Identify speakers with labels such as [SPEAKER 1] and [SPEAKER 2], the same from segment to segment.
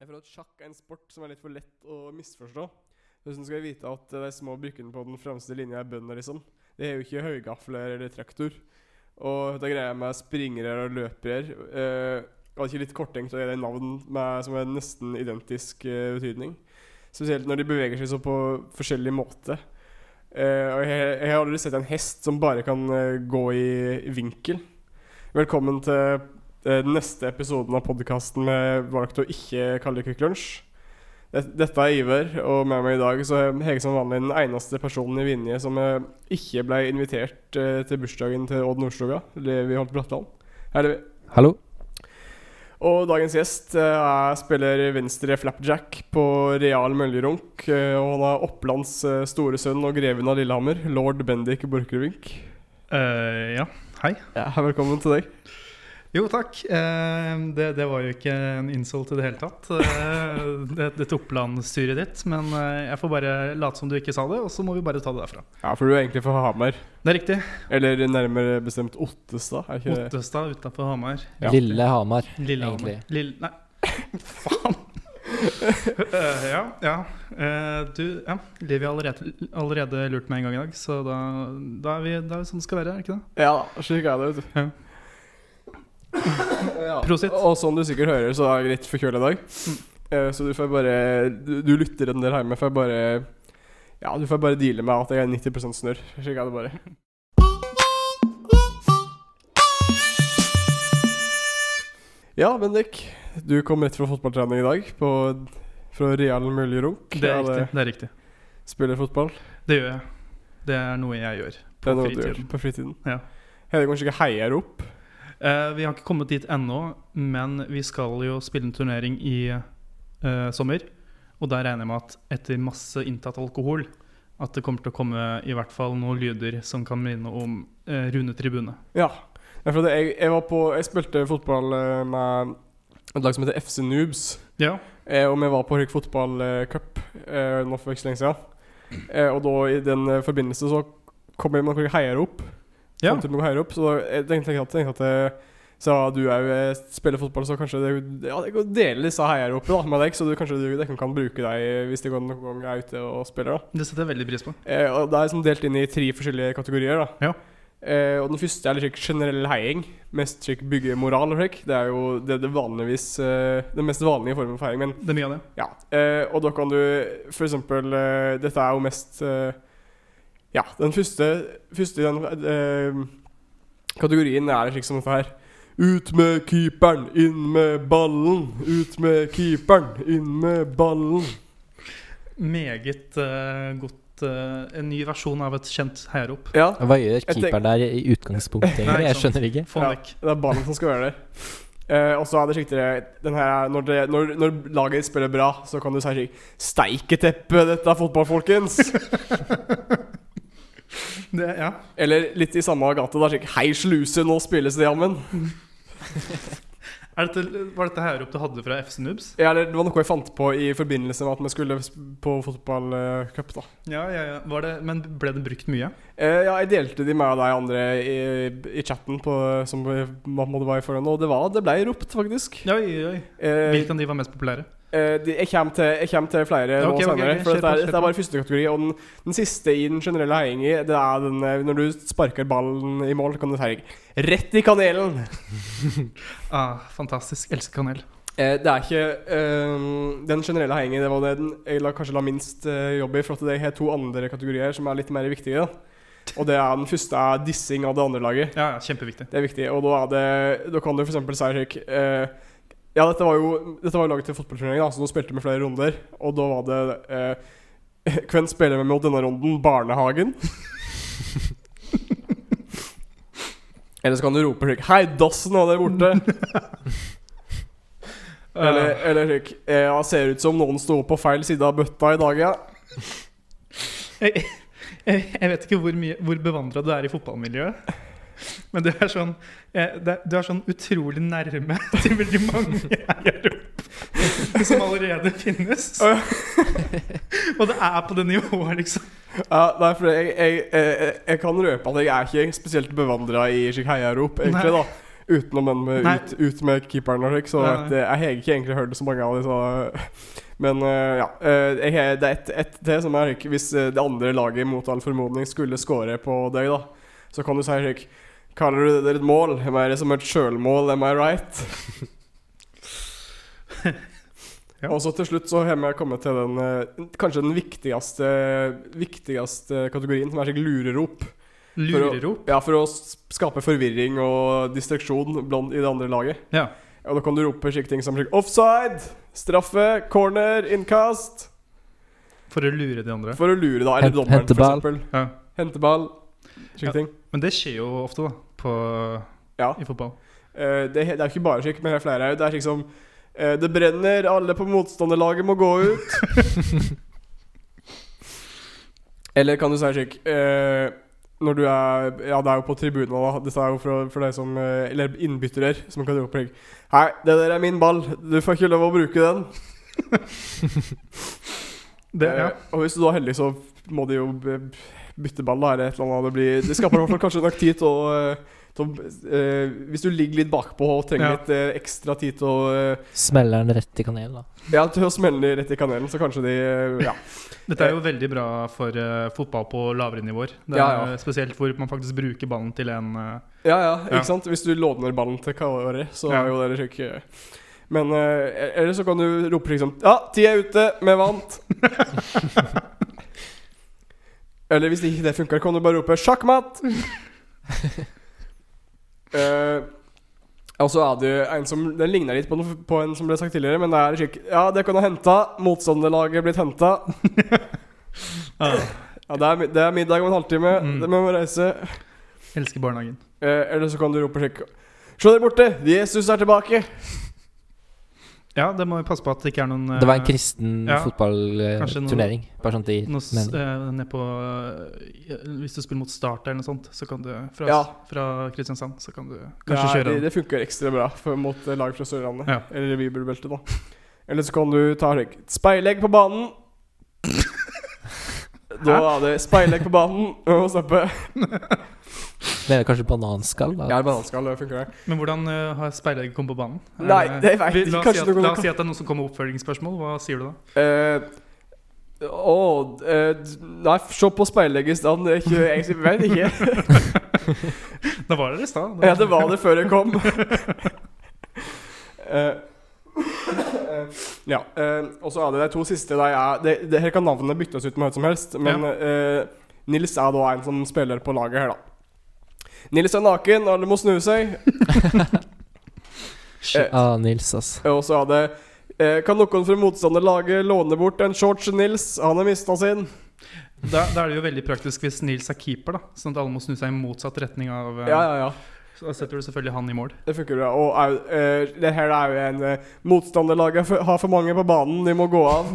[SPEAKER 1] Jeg føler at sjakk er en sport som er litt for lett å misforstå. Hvordan skal vi vite at eh, de små brikkene på den fremste linja er bønder, liksom? De har jo ikke høygafler eller traktor. Og dette greia med springere og løpere eh, Var det ikke litt korttenkt å gjøre navn med, som er nesten identisk eh, betydning? Spesielt når de beveger seg så på forskjellig måte. Eh, og jeg, jeg har aldri sett en hest som bare kan eh, gå i vinkel. Velkommen til eh, den neste episoden av podkasten med valgt å ikke kalle det Quick Lunch. Det- Dette er Iver, og med meg i dag så er Hege som vanlig den eneste personen i Vinje som eh, ikke ble invitert eh, til bursdagen til Odd Nordstoga, det vi holdt prate om. Her er vi.
[SPEAKER 2] Hallo.
[SPEAKER 1] Og dagens gjest eh, er spiller venstre flapjack på Real Møljerunk. eh, og han er Opplands eh, store sønn og greven av Lillehammer, lord Bendik Borchgrevink.
[SPEAKER 3] Eh, ja. Hei.
[SPEAKER 1] Ja, velkommen til deg.
[SPEAKER 3] Jo, takk. Eh, det, det var jo ikke en insult i det hele tatt. Eh, det, dette Oppland-styret ditt. Men eh, jeg får bare late som du ikke sa det, og så må vi bare ta det derfra.
[SPEAKER 1] Ja, for du er egentlig fra Hamar.
[SPEAKER 3] Det er riktig.
[SPEAKER 1] Eller nærmere bestemt Ottestad, er ikke det?
[SPEAKER 3] Ottestad utafor Hamar.
[SPEAKER 1] Ja.
[SPEAKER 2] Lille Hamar.
[SPEAKER 3] Lillehammer.
[SPEAKER 2] Egentlig.
[SPEAKER 3] Lille, nei, faen! Eh, ja, ja. Eh, du, ja. Liv har allerede, allerede lurt meg en gang i dag, så da, da, er, vi, da er vi sånn det skal være, er det ikke det?
[SPEAKER 1] Ja da, slik er det, vet
[SPEAKER 3] Ja.
[SPEAKER 1] du. Ja.
[SPEAKER 3] Prosit. Mm.
[SPEAKER 1] Og som du sikkert hører, så er jeg litt forkjøla i dag. Eh, Så du får bare Du, du lytter en del hjemme, får bare Ja, du får bare deale med at jeg er 90 snørr. Slik er det bare. Ja, Bendik. Du kom rett fra fotballtrening i dag. På, fra Real Møljerunk.
[SPEAKER 3] Det er riktig. Det er riktig.
[SPEAKER 1] Spiller fotball.
[SPEAKER 3] Det gjør jeg. Det er noe jeg gjør.
[SPEAKER 1] Det er noe du gjør
[SPEAKER 3] fritiden.
[SPEAKER 1] på fritiden.
[SPEAKER 3] Ja.
[SPEAKER 1] Heter kanskje ikke heier opp.
[SPEAKER 3] Eh, vi har ikke kommet dit ennå, men vi skal jo spille en turnering i eh, sommer. Og der regner jeg med at etter masse inntatt alkohol at det kommer til å komme i hvert fall noen lyder som kan minne om eh, Rune Tribune.
[SPEAKER 1] Ja. Ja, for det- Jeg, jeg, var på, jeg spilte fotball eh, med et lag som heter FC Noobs.
[SPEAKER 3] Ja,
[SPEAKER 1] Eh, og vi var på Røyk fotballcup eh, nå for ikke så lenge siden. Eh, og da i den eh, forbindelse så kom jeg med noen heier opp.
[SPEAKER 3] ja.
[SPEAKER 1] Kom til noen heier opp så da, jeg tenkte, tenkte at, tenkte at eh, så du er jo eh, spiller fotball, så kanskje det, ja, jeg kan dele disse heier opp da, med deg, så du kanskje du, de kan, kan bruke deg eh, hvis de går- noen gang er ute og spiller. da
[SPEAKER 3] Det setter jeg veldig pris på.
[SPEAKER 1] Eh, og Det er liksom delt inn i tre forskjellige kategorier. da
[SPEAKER 3] Ja.
[SPEAKER 1] eh, Og Den første er litt slik generell heiing. Mest slik bygge moral. og slik. Det er jo det, det vanligvis eh, den mest vanlige formen for heiing. Men
[SPEAKER 3] Det er mye av det.
[SPEAKER 1] ja, eh, og da kan du for eksempel eh, Dette er jo mest eh, Ja, den første, første i den eh, kategorien er slik som dette her. Ut med keeperen, inn med ballen. Ut med keeperen, inn med ballen.
[SPEAKER 3] Meget eh, godt eh, En ny versjon av et kjent heiarop.
[SPEAKER 1] Ja,
[SPEAKER 2] Hva gjør
[SPEAKER 1] tenk-
[SPEAKER 2] keeperen der i utgangspunktet? egentlig?
[SPEAKER 3] Nei,
[SPEAKER 2] Jeg
[SPEAKER 3] sant.
[SPEAKER 2] skjønner ikke.
[SPEAKER 3] Få
[SPEAKER 1] Ja.
[SPEAKER 3] den vekk.
[SPEAKER 1] Det er ballen som skal være der. Eh, og så er det riktigere den her er når, det, når, når laget spiller bra, så kan du si slik Steiketeppe, dette er fotball, folkens!
[SPEAKER 3] Det, ja.
[SPEAKER 1] Eller litt i samme gate. da, slik Hei, sluse, nå spilles det, jammen.
[SPEAKER 3] er dette, var dette heiarop du hadde fra FC Noobs?
[SPEAKER 1] Ja, Eller det var noe jeg fant på i forbindelse med at vi skulle sp- på fotballcup, da.
[SPEAKER 3] Ja, ja, ja. Var det, men ble det brukt mye?
[SPEAKER 1] Eh, ja, jeg delte de med deg andre i, i chatten på, som hva må det være i forhånd, og det, var, det ble ropt, faktisk.
[SPEAKER 3] Oi, oi.
[SPEAKER 1] Eh,
[SPEAKER 3] Hvilke av de var mest populære?
[SPEAKER 1] Eh, de, jeg, kommer til, jeg kommer til flere
[SPEAKER 3] Ja,
[SPEAKER 1] nå
[SPEAKER 3] ok, ok,
[SPEAKER 1] senere.
[SPEAKER 3] ok,
[SPEAKER 1] For dette,
[SPEAKER 3] kjør på,
[SPEAKER 1] er,
[SPEAKER 3] kjør
[SPEAKER 1] dette er
[SPEAKER 3] på.
[SPEAKER 1] bare første kategori. Og den, den siste i den generelle heiing i, det er den eh, når du sparker ballen i mål, kan du si rett i kanelen.
[SPEAKER 3] Ah, fantastisk. Elsker kanel.
[SPEAKER 1] Eh, det er ikke eh, Den generelle heiingen det var den jeg la, kanskje la minst eh, jobb i. For at jeg har to andre kategorier som er litt mer viktige. Og det er den første er dissing av det andre laget.
[SPEAKER 3] Ja, ja, kjempeviktig.
[SPEAKER 1] Det er viktig. Og da, er det, da kan du f.eks. si slik eh, Ja, dette var jo Dette var jo laget til fotballturnering, da, så nå spilte vi flere runder. Og da var det eh, Hvem spiller vi mot denne runden? Barnehagen? Eller så kan du rope slik Hei, dassen var der borte! Eller, eller slik eh, Ja, ser ut som noen sto på feil side av bøtta i dag, ja.
[SPEAKER 3] jeg, Eh, jeg, jeg vet ikke hvor, mye- hvor bevandra du er i fotballmiljøet, men du er sånn, eh, det er- du er sånn utrolig nærme til veldig mange eiere som allerede finnes.
[SPEAKER 1] Å,
[SPEAKER 3] Og det er på det nivået, liksom.
[SPEAKER 1] ja nei, for jeg, jeg, jeg, jeg kan røpe at jeg er ikke spesielt bevandra i slik heiarop, egentlig,
[SPEAKER 3] Nei.
[SPEAKER 1] da. Utenom den med
[SPEAKER 3] Nei.
[SPEAKER 1] ut, ut med keeperen og slik, så
[SPEAKER 3] Nei, nei.
[SPEAKER 1] at, eh, jeg har ikke egentlig hørt så mange av de, så Men eh, ja. eh, jeg, har- det er ett et til som er slik Hvis eh, det andre laget mot all formodning skulle score på deg, da, så kan du si slik Kaller du det der et mål? Am I som et sjølmål? Am I right?
[SPEAKER 3] Ja.
[SPEAKER 1] Og så til slutt så har vi kommet til den eh, kanskje den viktigste, viktigste kategorien, som er slik lurerop.
[SPEAKER 3] Lurerop.
[SPEAKER 1] Ja, for å s- skape forvirring og distraksjon blant, i det andre laget.
[SPEAKER 3] Ja.
[SPEAKER 1] Og da kan du rope slike ting som slik offside, straffe, corner, innkast.
[SPEAKER 3] For å lure de andre.
[SPEAKER 1] For å lure, da. Eller
[SPEAKER 2] Hent-
[SPEAKER 1] dommeren, for
[SPEAKER 2] henteball.
[SPEAKER 1] eksempel.
[SPEAKER 3] Ja.
[SPEAKER 1] Henteball. Slike
[SPEAKER 3] Ja.
[SPEAKER 1] ting.
[SPEAKER 3] Men det skjer jo ofte, da. På,
[SPEAKER 1] Ja.
[SPEAKER 3] I fotball.
[SPEAKER 1] Eh, det, det er jo ikke bare slik, men det er flere her. Det er slik som eh, Det brenner, alle på motstanderlaget må gå ut. Eller kan du si slik eh, Når du er Ja, det er jo på tribunen, da. Dette er jo for, for deg som eh, Eller innbyttere som kan rope slik Hei, det der er min ball. Du får ikke lov å bruke den.
[SPEAKER 3] Det, ja.
[SPEAKER 1] Eh, og hvis du da er heldig, så må de jo b- b- bytte ball, da, eller et eller annet. Det, blir, det skaper i hvert fall kanskje nok tid til å eh, til å, eh, Hvis du ligger litt bakpå og trenger
[SPEAKER 3] Ja.
[SPEAKER 1] litt eh, ekstra tid til å eh,
[SPEAKER 2] Smeller den rett i kanelen, da.
[SPEAKER 1] Ja, til å smelle rett i kanelen, så kanskje de eh, Ja.
[SPEAKER 3] Dette er jo veldig bra for eh, fotball på lavere nivåer. Det er
[SPEAKER 1] Ja, ja.
[SPEAKER 3] eh, Spesielt hvor man faktisk bruker ballen til en eh,
[SPEAKER 1] Ja, ja,
[SPEAKER 3] Ja.
[SPEAKER 1] ikke sant? Hvis du låner ballen til Kåre, så
[SPEAKER 3] Ja.
[SPEAKER 1] er jo det slik eh, Men eh, eller så kan du rope liksom Ja, ti er ute, vi vant! eller hvis ikke det funker, kan du bare rope sjakkmatt! Eh, og så er det jo en som Den ligner litt på, noe, på en som ble sagt tidligere, men det er slik Ja, det kan du hente. Motstanderlaget er blitt henta. Ja, det er, mi- det er middag om en halvtime.
[SPEAKER 3] Mm.
[SPEAKER 1] Vi må reise.
[SPEAKER 3] Elsker barnehagen.
[SPEAKER 1] Eh, eller så kan du rope og sjekke Se der borte! Jesus er tilbake!
[SPEAKER 3] Ja, det må vi passe på at det ikke er noen
[SPEAKER 2] Det var en
[SPEAKER 3] eh,
[SPEAKER 2] kristen
[SPEAKER 3] ja. Kanskje noe-
[SPEAKER 2] fotballturnering. Bare sånn at de
[SPEAKER 3] noe s-
[SPEAKER 2] mener.
[SPEAKER 3] eh, ned på, eh, Hvis du spiller mot Start eller noe sånt, så kan du fra,
[SPEAKER 1] Ja.
[SPEAKER 3] fra Kristiansand, så kan du
[SPEAKER 1] Ja,
[SPEAKER 3] kanskje kjøre
[SPEAKER 1] det,
[SPEAKER 3] en
[SPEAKER 1] det funker ekstra bra for, mot eh, lag fra Sørlandet.
[SPEAKER 3] Ja.
[SPEAKER 1] Eller Bibelbeltet, da. Eller så kan du ta slik Speilegg på banen! da er det speilegg på banen og snappe.
[SPEAKER 2] Mener kanskje bananskall, da.
[SPEAKER 1] Jeg er bananskall, det funker det.
[SPEAKER 3] Men hvordan eh, har speilegget kommet på banen? Eh,
[SPEAKER 1] Nei, det vet
[SPEAKER 3] vi-
[SPEAKER 1] jeg
[SPEAKER 3] la
[SPEAKER 1] ikke.
[SPEAKER 3] oss
[SPEAKER 1] Kanskje
[SPEAKER 3] si at-
[SPEAKER 1] noen
[SPEAKER 3] La oss si at det er noen som kommer med oppfølgingsspørsmål. Hva sier du da?
[SPEAKER 1] Eh, Å eh, d- Nei, se på speilegget i stand. Det er ikke- Jeg vet ikke.
[SPEAKER 3] Da var dere i stad.
[SPEAKER 1] Ja, det var det før jeg kom. Eh, eh, ja. eh, og så er det de to siste. De er, det, det her kan navnet byttes ut med hva som helst, men eh, Nils er da en som spiller på laget her, da. Nils er naken, alle må snu seg.
[SPEAKER 2] Shit. Ah, Nils, ass.
[SPEAKER 1] Og så er det eh, Kan noen fra motstanderlaget låne bort en shorts til Nils? Han har mista sin.
[SPEAKER 3] Da, da er det jo veldig praktisk hvis Nils er keeper, da. Sånn at alle må snu seg i motsatt retning av eh,
[SPEAKER 1] Ja, ja, ja.
[SPEAKER 3] Så da setter du selvfølgelig han i mål.
[SPEAKER 1] Det funker bra. Og au, eh, det her er jo en eh, Motstanderlaget f- har for mange på banen, de må gå av.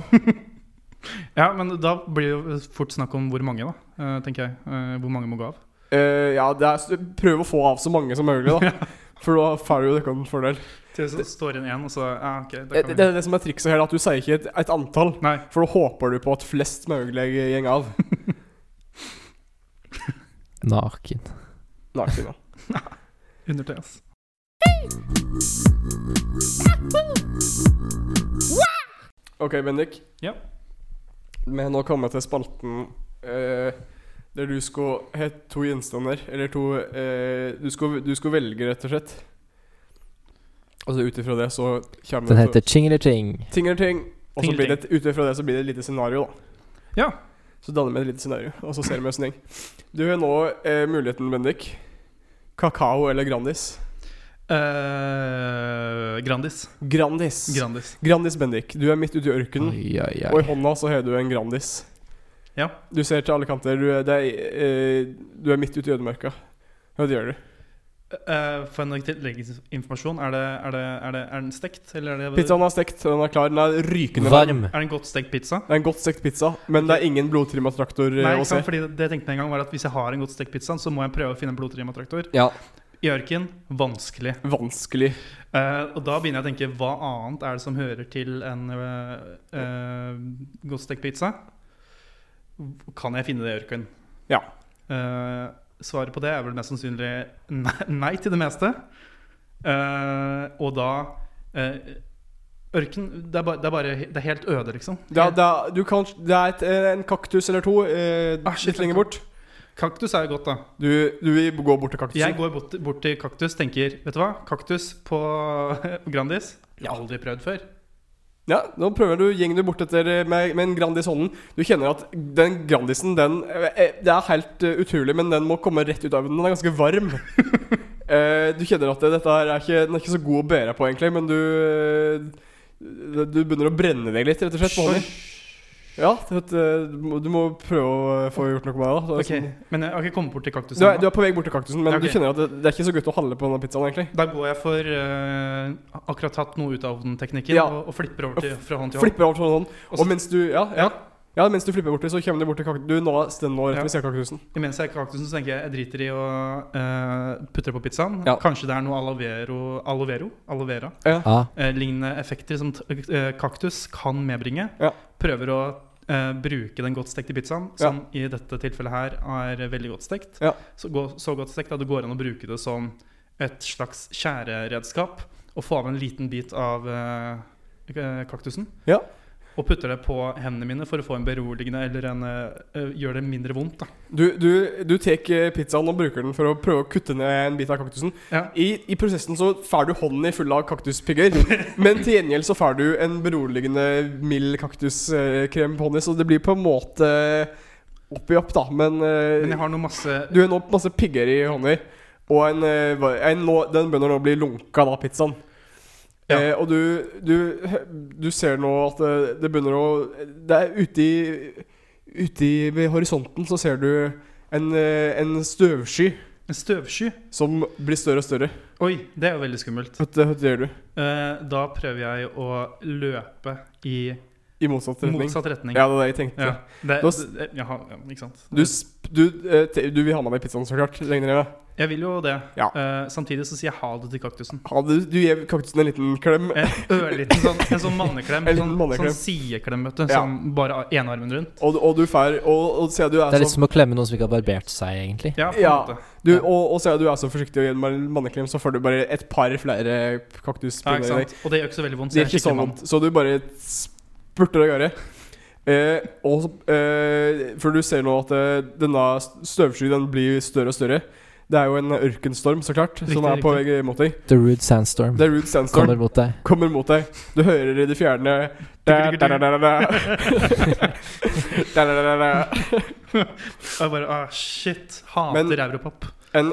[SPEAKER 3] Ja, men da blir det jo fort snakk om hvor mange, da. eh, tenker jeg. Eh, hvor mange må gå av.
[SPEAKER 1] Eh, ja, det er, s- prøv å få av så mange som mulig, da. For da får du jo dere en fordel.
[SPEAKER 3] Til det står inn én, og så Ja, OK. Da
[SPEAKER 1] Det,
[SPEAKER 3] kan
[SPEAKER 1] det,
[SPEAKER 3] vi.
[SPEAKER 1] er det som er trikset her, da, at du sier ikke et, et antall.
[SPEAKER 3] Nei.
[SPEAKER 1] For da håper du på at flest mulig gjeng av.
[SPEAKER 2] Naken.
[SPEAKER 1] Naken, da.
[SPEAKER 3] Under altså. til, ass.
[SPEAKER 1] OK, Bendik.
[SPEAKER 3] Ja.
[SPEAKER 1] Vi har nå kommet til spalten eh, der du skal ha to gjenstander. Eller to eh, du, skal, du skal velge, rett og slett. Altså ut ifra det så kommer
[SPEAKER 2] Den
[SPEAKER 1] det
[SPEAKER 2] heter Chingeliching.
[SPEAKER 1] Ting eller ting. Og så
[SPEAKER 3] Ting
[SPEAKER 1] blir
[SPEAKER 3] eller
[SPEAKER 1] det et- ut ifra det så blir det et lite scenario, da.
[SPEAKER 3] Ja.
[SPEAKER 1] Så danner vi et lite scenario, og så ser vi åssen det går. Du har nå eh, muligheten, Bendik. Kakao eller Grandis?
[SPEAKER 3] Eh, Grandis.
[SPEAKER 1] Grandis.
[SPEAKER 3] Grandis.
[SPEAKER 1] Grandis, Bendik. Du er midt ute i ørkenen,
[SPEAKER 2] Oi, oi,
[SPEAKER 1] og i
[SPEAKER 2] oi.
[SPEAKER 1] hånda så har du en Grandis.
[SPEAKER 3] Ja.
[SPEAKER 1] Du ser til alle kanter. Du er, det er, eh, du er midt ute i ødemarka. Hva gjør du?
[SPEAKER 3] Eh, for en tilleggsinformasjon, er, det, er, det, er, det, er den stekt, eller er det
[SPEAKER 1] Pizzaen er stekt, den er klar. Den er rykende varm.
[SPEAKER 2] Varm.
[SPEAKER 3] Er det en godt stekt pizza?
[SPEAKER 1] Det er en godt stekt pizza, men det er ingen blodtrimma traktor eh,
[SPEAKER 3] Nei,
[SPEAKER 1] å
[SPEAKER 3] ikke
[SPEAKER 1] se.
[SPEAKER 3] sant? fordi det jeg tenkte med en gang var at Hvis jeg har en godt stekt pizza, så må jeg prøve å finne en blodtrimma traktor.
[SPEAKER 2] Ja.
[SPEAKER 3] I ørken vanskelig.
[SPEAKER 1] Vanskelig.
[SPEAKER 3] Eh, og da begynner jeg å tenke hva annet er det som hører til en eh, eh, godt stekt pizza? Kan jeg finne det i ørken?
[SPEAKER 1] Ja.
[SPEAKER 3] Eh, svaret på det er vel mest sannsynlig nei, nei til det meste. Eh, og da eh, Ørken det er, bare, det er bare Det er helt øde, liksom.
[SPEAKER 1] Det er, det er, du kan, det er et, eh, en kaktus eller to eh,
[SPEAKER 3] Ah, shit,
[SPEAKER 1] litt lenger bort.
[SPEAKER 3] Kaktus er jo godt, da.
[SPEAKER 1] Du, du vil gå bort til kaktusen.
[SPEAKER 3] Jeg går bort, bort til kaktus tenker Vet du hva? Kaktus på Grandis? Jeg har aldri prøvd før.
[SPEAKER 1] Ja, nå prøver du gjenger du bort etter eh, med, med en Grandis i hånden. Du kjenner at den Grandisen, den eh, eh, Det er helt eh, utrolig, men den må komme rett ut av den. Den er ganske varm. Eh, du kjenner at det, dette her er ikke, den er ikke så god å bære på, egentlig, men du eh, Du begynner å brenne deg litt, rett og slett. på hånden. Ja, du, vet, eh, du må- du må prøve å eh, få gjort noe med det. sånn- da.
[SPEAKER 3] Ok,
[SPEAKER 1] Så-
[SPEAKER 3] Men jeg har ikke kommet bort til kaktusen.
[SPEAKER 1] Du er,
[SPEAKER 3] ennå.
[SPEAKER 1] du er på vei bort til kaktusen, men
[SPEAKER 3] Ja, ok.
[SPEAKER 1] du kjenner at det, det er ikke så godt å handle på denne pizzaen, egentlig.
[SPEAKER 3] Da går jeg for eh, akkurat tatt noe ut av ovnen-teknikken
[SPEAKER 1] Ja.
[SPEAKER 3] og, og flipper over til, fra hånd til hånd.
[SPEAKER 1] Flipper over til hånden,
[SPEAKER 3] Og
[SPEAKER 1] og,
[SPEAKER 3] så-
[SPEAKER 1] mens du Ja, ja.
[SPEAKER 3] Ja.
[SPEAKER 1] ja mens du flipper borti, så kommer du bort til kaktusen. Du nå står nå rett
[SPEAKER 3] Ja.
[SPEAKER 1] ved siden av kaktusen.
[SPEAKER 3] Mens jeg er kaktusen, så tenker jeg jeg driter i å eh, putte det på pizzaen.
[SPEAKER 1] Ja.
[SPEAKER 3] Kanskje det er noe aloe vero, aloe vero, aloe vera,
[SPEAKER 2] Ja.
[SPEAKER 3] eh, lignende effekter som t eh, kaktus kan medbringe.
[SPEAKER 1] Ja.
[SPEAKER 3] Prøver å eh, bruke den godt stekte pizzaen, som i dette tilfellet her er veldig godt stekt.
[SPEAKER 1] Ja.
[SPEAKER 3] Så, gå- så godt stekt at det går an å bruke det som et slags skjæreredskap, og få av en liten bit av eh, eh, kaktusen.
[SPEAKER 1] Ja.
[SPEAKER 3] Og putter det på hendene mine for å få en beroligende eller en eh, eh, gjør det mindre vondt. da
[SPEAKER 1] Du, du, du tar eh, pizzaen og bruker den for å prøve å kutte ned en bit av kaktusen.
[SPEAKER 3] Ja.
[SPEAKER 1] I, I prosessen så får du hånden i full av kaktuspigger, men til gjengjeld så får du en beroligende mild kaktuskrem på hånden, så det blir på en måte opp i opp, da, men, eh,
[SPEAKER 3] Men jeg har noe masse
[SPEAKER 1] Du har nå masse pigger i hånda, og en, eh, var- en, nå- den begynner nå å bli lunka, da, pizzaen.
[SPEAKER 3] Ja.
[SPEAKER 1] Eh, og du, du, du ser nå at eh, det begynner å Det er ute i Ute i ved horisonten så ser du en, eh, en støvsky
[SPEAKER 3] En støvsky?
[SPEAKER 1] som blir større og større.
[SPEAKER 3] Oi, det er jo veldig skummelt.
[SPEAKER 1] Hva hva gjør du?
[SPEAKER 3] Eh, da prøver jeg å løpe i
[SPEAKER 1] I motsatt retning?
[SPEAKER 3] motsatt retning.
[SPEAKER 1] Ja, det var det jeg tenkte.
[SPEAKER 3] Ja, det,
[SPEAKER 1] Da s-
[SPEAKER 3] det, jeg har- ja, ikke sant.
[SPEAKER 1] Du, sp du, eh, te- du vil ha med deg pizzaen, så klart? Regner jeg med?
[SPEAKER 3] jeg vil jo det.
[SPEAKER 1] Ja.
[SPEAKER 3] Eh, samtidig så sier jeg ha det til kaktusen.
[SPEAKER 1] Ha, du, du gir kaktusen en liten klem.
[SPEAKER 3] En ørliten sånn, en sånn manneklem.
[SPEAKER 1] En liten
[SPEAKER 3] sånn,
[SPEAKER 1] manneklem.
[SPEAKER 3] sånn sideklem, vet du.
[SPEAKER 1] Ja.
[SPEAKER 3] Sånn bare enarmen rundt.
[SPEAKER 1] Og, og du får og, og ser du er
[SPEAKER 2] Det
[SPEAKER 1] sånn
[SPEAKER 2] er litt som å klemme noen som ikke har barbert seg, egentlig.
[SPEAKER 3] Ja, på en
[SPEAKER 1] Ja.
[SPEAKER 3] måte.
[SPEAKER 1] Du,
[SPEAKER 2] Ja.
[SPEAKER 1] og, og siden du er så forsiktig og gir meg en manneklem, så får du bare et par flere
[SPEAKER 3] Ja,
[SPEAKER 1] kaktuspinner i
[SPEAKER 3] ikke
[SPEAKER 1] deg.
[SPEAKER 3] sant? Og det gjør ikke så veldig vondt.
[SPEAKER 1] Det er
[SPEAKER 3] jeg
[SPEAKER 1] ikke sånn
[SPEAKER 3] skikkelig mann.
[SPEAKER 1] vondt, så du bare spurter av gårde. Eh, og så- eh, for du ser nå at eh, denne støvskyen den blir større og større. Det er jo en ørkenstorm, så klart, som
[SPEAKER 3] Riktig,
[SPEAKER 1] er på
[SPEAKER 3] riktig.
[SPEAKER 1] vei mot deg.
[SPEAKER 2] The Rude Sandstorm
[SPEAKER 1] The Rude Sandstorm
[SPEAKER 2] kommer
[SPEAKER 1] kommer.
[SPEAKER 2] mot deg.
[SPEAKER 1] mot deg. Du hører i det fjerne da, da, da, da, da. Da, da, da, da, da.
[SPEAKER 3] Og Jeg bare ah, shit. Hater
[SPEAKER 1] Men-
[SPEAKER 3] europop.
[SPEAKER 1] En,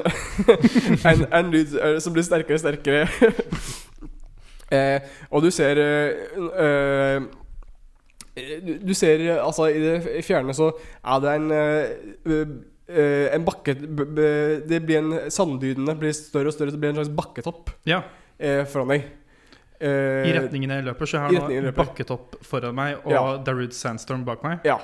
[SPEAKER 1] en, en lyd eh, som blir sterkere og sterkere. eh, og du ser eh, eh, du, du ser eh, altså i det fjerne så er det en eh, eh, En bakke b, b, Det blir en Sanddynene blir større og større, så det blir en slags bakketopp
[SPEAKER 3] Ja.
[SPEAKER 1] eh, foran deg. Eh,
[SPEAKER 3] I retningen jeg løper, så
[SPEAKER 1] i
[SPEAKER 3] har jeg
[SPEAKER 1] retningen
[SPEAKER 3] nå
[SPEAKER 1] jeg løper.
[SPEAKER 3] bakket opp foran meg og
[SPEAKER 1] Ja.
[SPEAKER 3] Darude Sandstorm bak meg.
[SPEAKER 1] Ja.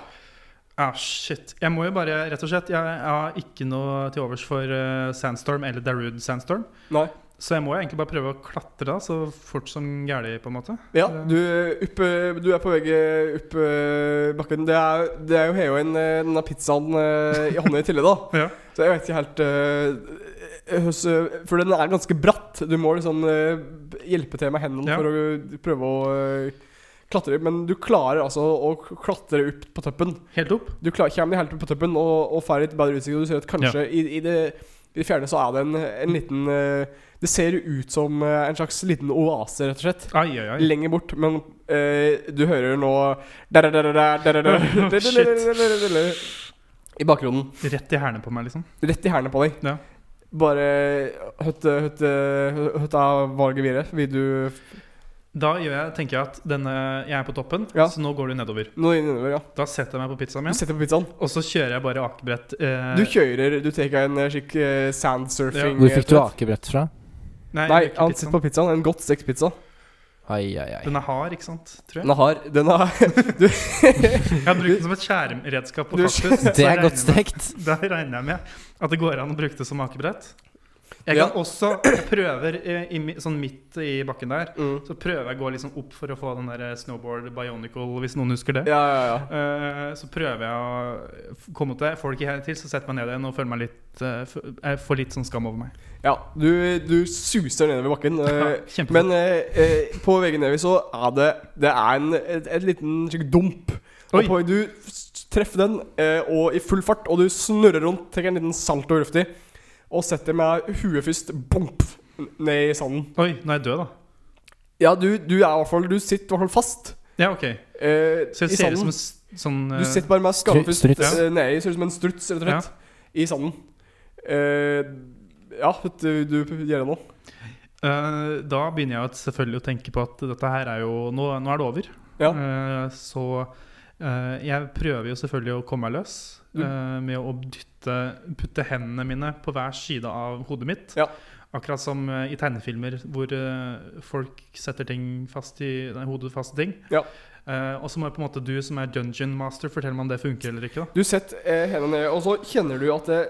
[SPEAKER 3] Ah, shit. Jeg må jo bare, rett og slett, jeg, jeg har ikke noe til overs for eh, Sandstorm eller Darude Sandstorm.
[SPEAKER 1] Nei.
[SPEAKER 3] Så jeg må jo egentlig bare prøve å klatre da, så fort som gærlig, på en måte.
[SPEAKER 1] Ja, du, opp, eh, du er på vei eh, opp eh, bakken. Det er, det er jo har jo en, eh, denne pizzaen eh, i hånda i tillegg, da.
[SPEAKER 3] Ja.
[SPEAKER 1] Så jeg vet ikke helt eh, høs, eh, For den er ganske bratt. Du må liksom eh, hjelpe til med hendene
[SPEAKER 3] Ja.
[SPEAKER 1] for å prøve å eh, klatre. Men du klarer altså å k- klatre opp på toppen.
[SPEAKER 3] Helt opp.
[SPEAKER 1] Du klar, kommer deg helt opp på toppen og, og får litt bedre utsikt. Og du ser at kanskje i, i, det, i det fjerne så er det en, en liten eh, Det ser ut som eh, en slags liten oase, rett og slett.
[SPEAKER 3] Ai, ai, ai.
[SPEAKER 1] Lenger bort, men eh, du hører nå I bakgrunnen.
[SPEAKER 3] Rett i hælene på meg, liksom.
[SPEAKER 1] Rett i hælene på deg.
[SPEAKER 3] Ja.
[SPEAKER 1] Bare høtte, høtte, høtta valget videre. Vil du
[SPEAKER 3] Da gjør jeg, tenker jeg at denne, jeg er på toppen,
[SPEAKER 1] Ja.
[SPEAKER 3] så nå går du nedover.
[SPEAKER 1] Nå inn innover, ja.
[SPEAKER 3] Da setter jeg meg på pizzaen
[SPEAKER 1] Du
[SPEAKER 3] min,
[SPEAKER 1] setter på pizzaen.
[SPEAKER 3] og så kjører jeg bare akebrett. eh,
[SPEAKER 1] Du kjører, du tar en eh, slik eh,
[SPEAKER 3] Ja.
[SPEAKER 1] sandsurfing
[SPEAKER 2] Hvor fikk du
[SPEAKER 1] eh,
[SPEAKER 2] akebrett fra?
[SPEAKER 1] Nei,
[SPEAKER 3] ikke
[SPEAKER 1] han
[SPEAKER 3] pizzaen.
[SPEAKER 1] sitter på pizzaen. En godt stekt pizza.
[SPEAKER 2] Ai, ai, ai.
[SPEAKER 3] Den er hard, ikke sant? Tror jeg.
[SPEAKER 1] Den er hard. Den er
[SPEAKER 3] Jeg har brukt den som et skjæremredskap på
[SPEAKER 1] Du-
[SPEAKER 3] kaktus. så
[SPEAKER 2] Det
[SPEAKER 3] jeg
[SPEAKER 2] er godt
[SPEAKER 3] regner med-
[SPEAKER 2] stekt.
[SPEAKER 3] Da regner jeg med at det går an å bruke det som akebrett. Jeg
[SPEAKER 1] Ja.
[SPEAKER 3] kan også prøver eh, i, mi- sånn midt i bakken der
[SPEAKER 1] Mm.
[SPEAKER 3] Så prøver jeg å gå liksom opp for å få den der snowboard bionicle, hvis noen husker det.
[SPEAKER 1] Ja, ja, ja.
[SPEAKER 3] Eh, så prøver jeg å f- komme til folk jeg til, så setter jeg meg ned igjen og føler meg litt eh, f- Jeg får litt sånn skam over meg.
[SPEAKER 1] Ja, du, du suser nedover bakken. eh,
[SPEAKER 3] Kjempefort.
[SPEAKER 1] men eh, eh, på veggen nedover så er det Det er en, et, et liten slik dump.
[SPEAKER 3] Oi.
[SPEAKER 1] Og på, du s- treffer den eh, og i full fart, og du snurrer rundt, trekker en liten salto og luftig, og setter med huet først bump ned i sanden.
[SPEAKER 3] Oi, nå er jeg død, da.
[SPEAKER 1] Ja, du, du er i hvert fall Du sitter i hvert fall fast
[SPEAKER 3] Ja, OK.
[SPEAKER 1] eh,
[SPEAKER 3] Så
[SPEAKER 1] i
[SPEAKER 3] jeg ser ut
[SPEAKER 1] sanden.
[SPEAKER 3] som en s- sånn eh,
[SPEAKER 1] Du sitter bare med skallen først
[SPEAKER 2] Struts.
[SPEAKER 1] eh, nedi, ser ut som en struts, rett og slett, i sanden. Eh, ja, du, du gjør det nå.
[SPEAKER 3] eh, Da begynner jeg å- selvfølgelig å tenke på at dette her er jo Nå, nå er det over.
[SPEAKER 1] Ja.
[SPEAKER 3] Eh, så eh, jeg prøver jo selvfølgelig å komme meg løs
[SPEAKER 1] Mm.
[SPEAKER 3] eh, med å dytte Putte hendene mine på hver side av hodet mitt.
[SPEAKER 1] Ja.
[SPEAKER 3] Akkurat som eh, i tegnefilmer hvor eh, folk setter ting fast i nei, hodet fast i ting.
[SPEAKER 1] Ja.
[SPEAKER 3] Eh, og så må jeg på en måte du som er dungeon master, fortelle meg om det funker eller ikke. da
[SPEAKER 1] Du setter eh, hendene ned, og så kjenner du at det,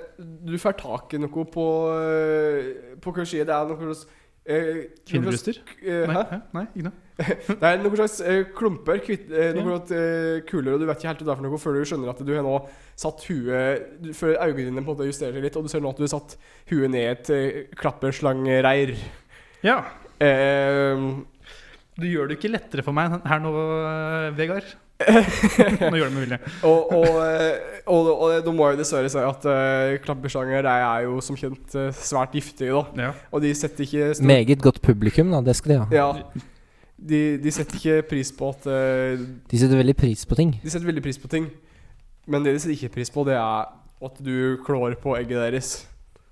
[SPEAKER 1] du får tak i noe på eh, På kursiet. Det er noe slags eh, noe slags,
[SPEAKER 3] Kvinnebryster?
[SPEAKER 1] eh,
[SPEAKER 3] Nei,
[SPEAKER 1] hæ?
[SPEAKER 3] hæ? nei, ikke noe.
[SPEAKER 1] Det er noen slags eh, klumper, kvitt, eh, noen
[SPEAKER 3] Ja.
[SPEAKER 1] slags, eh, kuler, og du vet ikke helt hva det er for noe før du skjønner at du har nå satt huet du- Før øynene dine på en måte justerer seg litt, og du ser nå at du har satt huet ned i et eh, klapperslangreir.
[SPEAKER 3] Ja,
[SPEAKER 1] Eh,
[SPEAKER 3] Du gjør det jo ikke lettere for meg her nå, eh, Vegard. nå gjør det med vilje.
[SPEAKER 1] og, og, eh, og, og, da må jeg dessverre si at eh, klapperslanger de er jo som kjent eh, svært giftige, da.
[SPEAKER 3] Ja.
[SPEAKER 1] Og de setter ikke stor
[SPEAKER 2] Meget godt publikum, da. Det skal de ha.
[SPEAKER 1] Ja. De, de setter ikke pris på at eh,
[SPEAKER 2] De setter veldig pris på ting.
[SPEAKER 1] De setter veldig pris på ting. Men det de setter ikke pris på, det er at du klår på egget deres.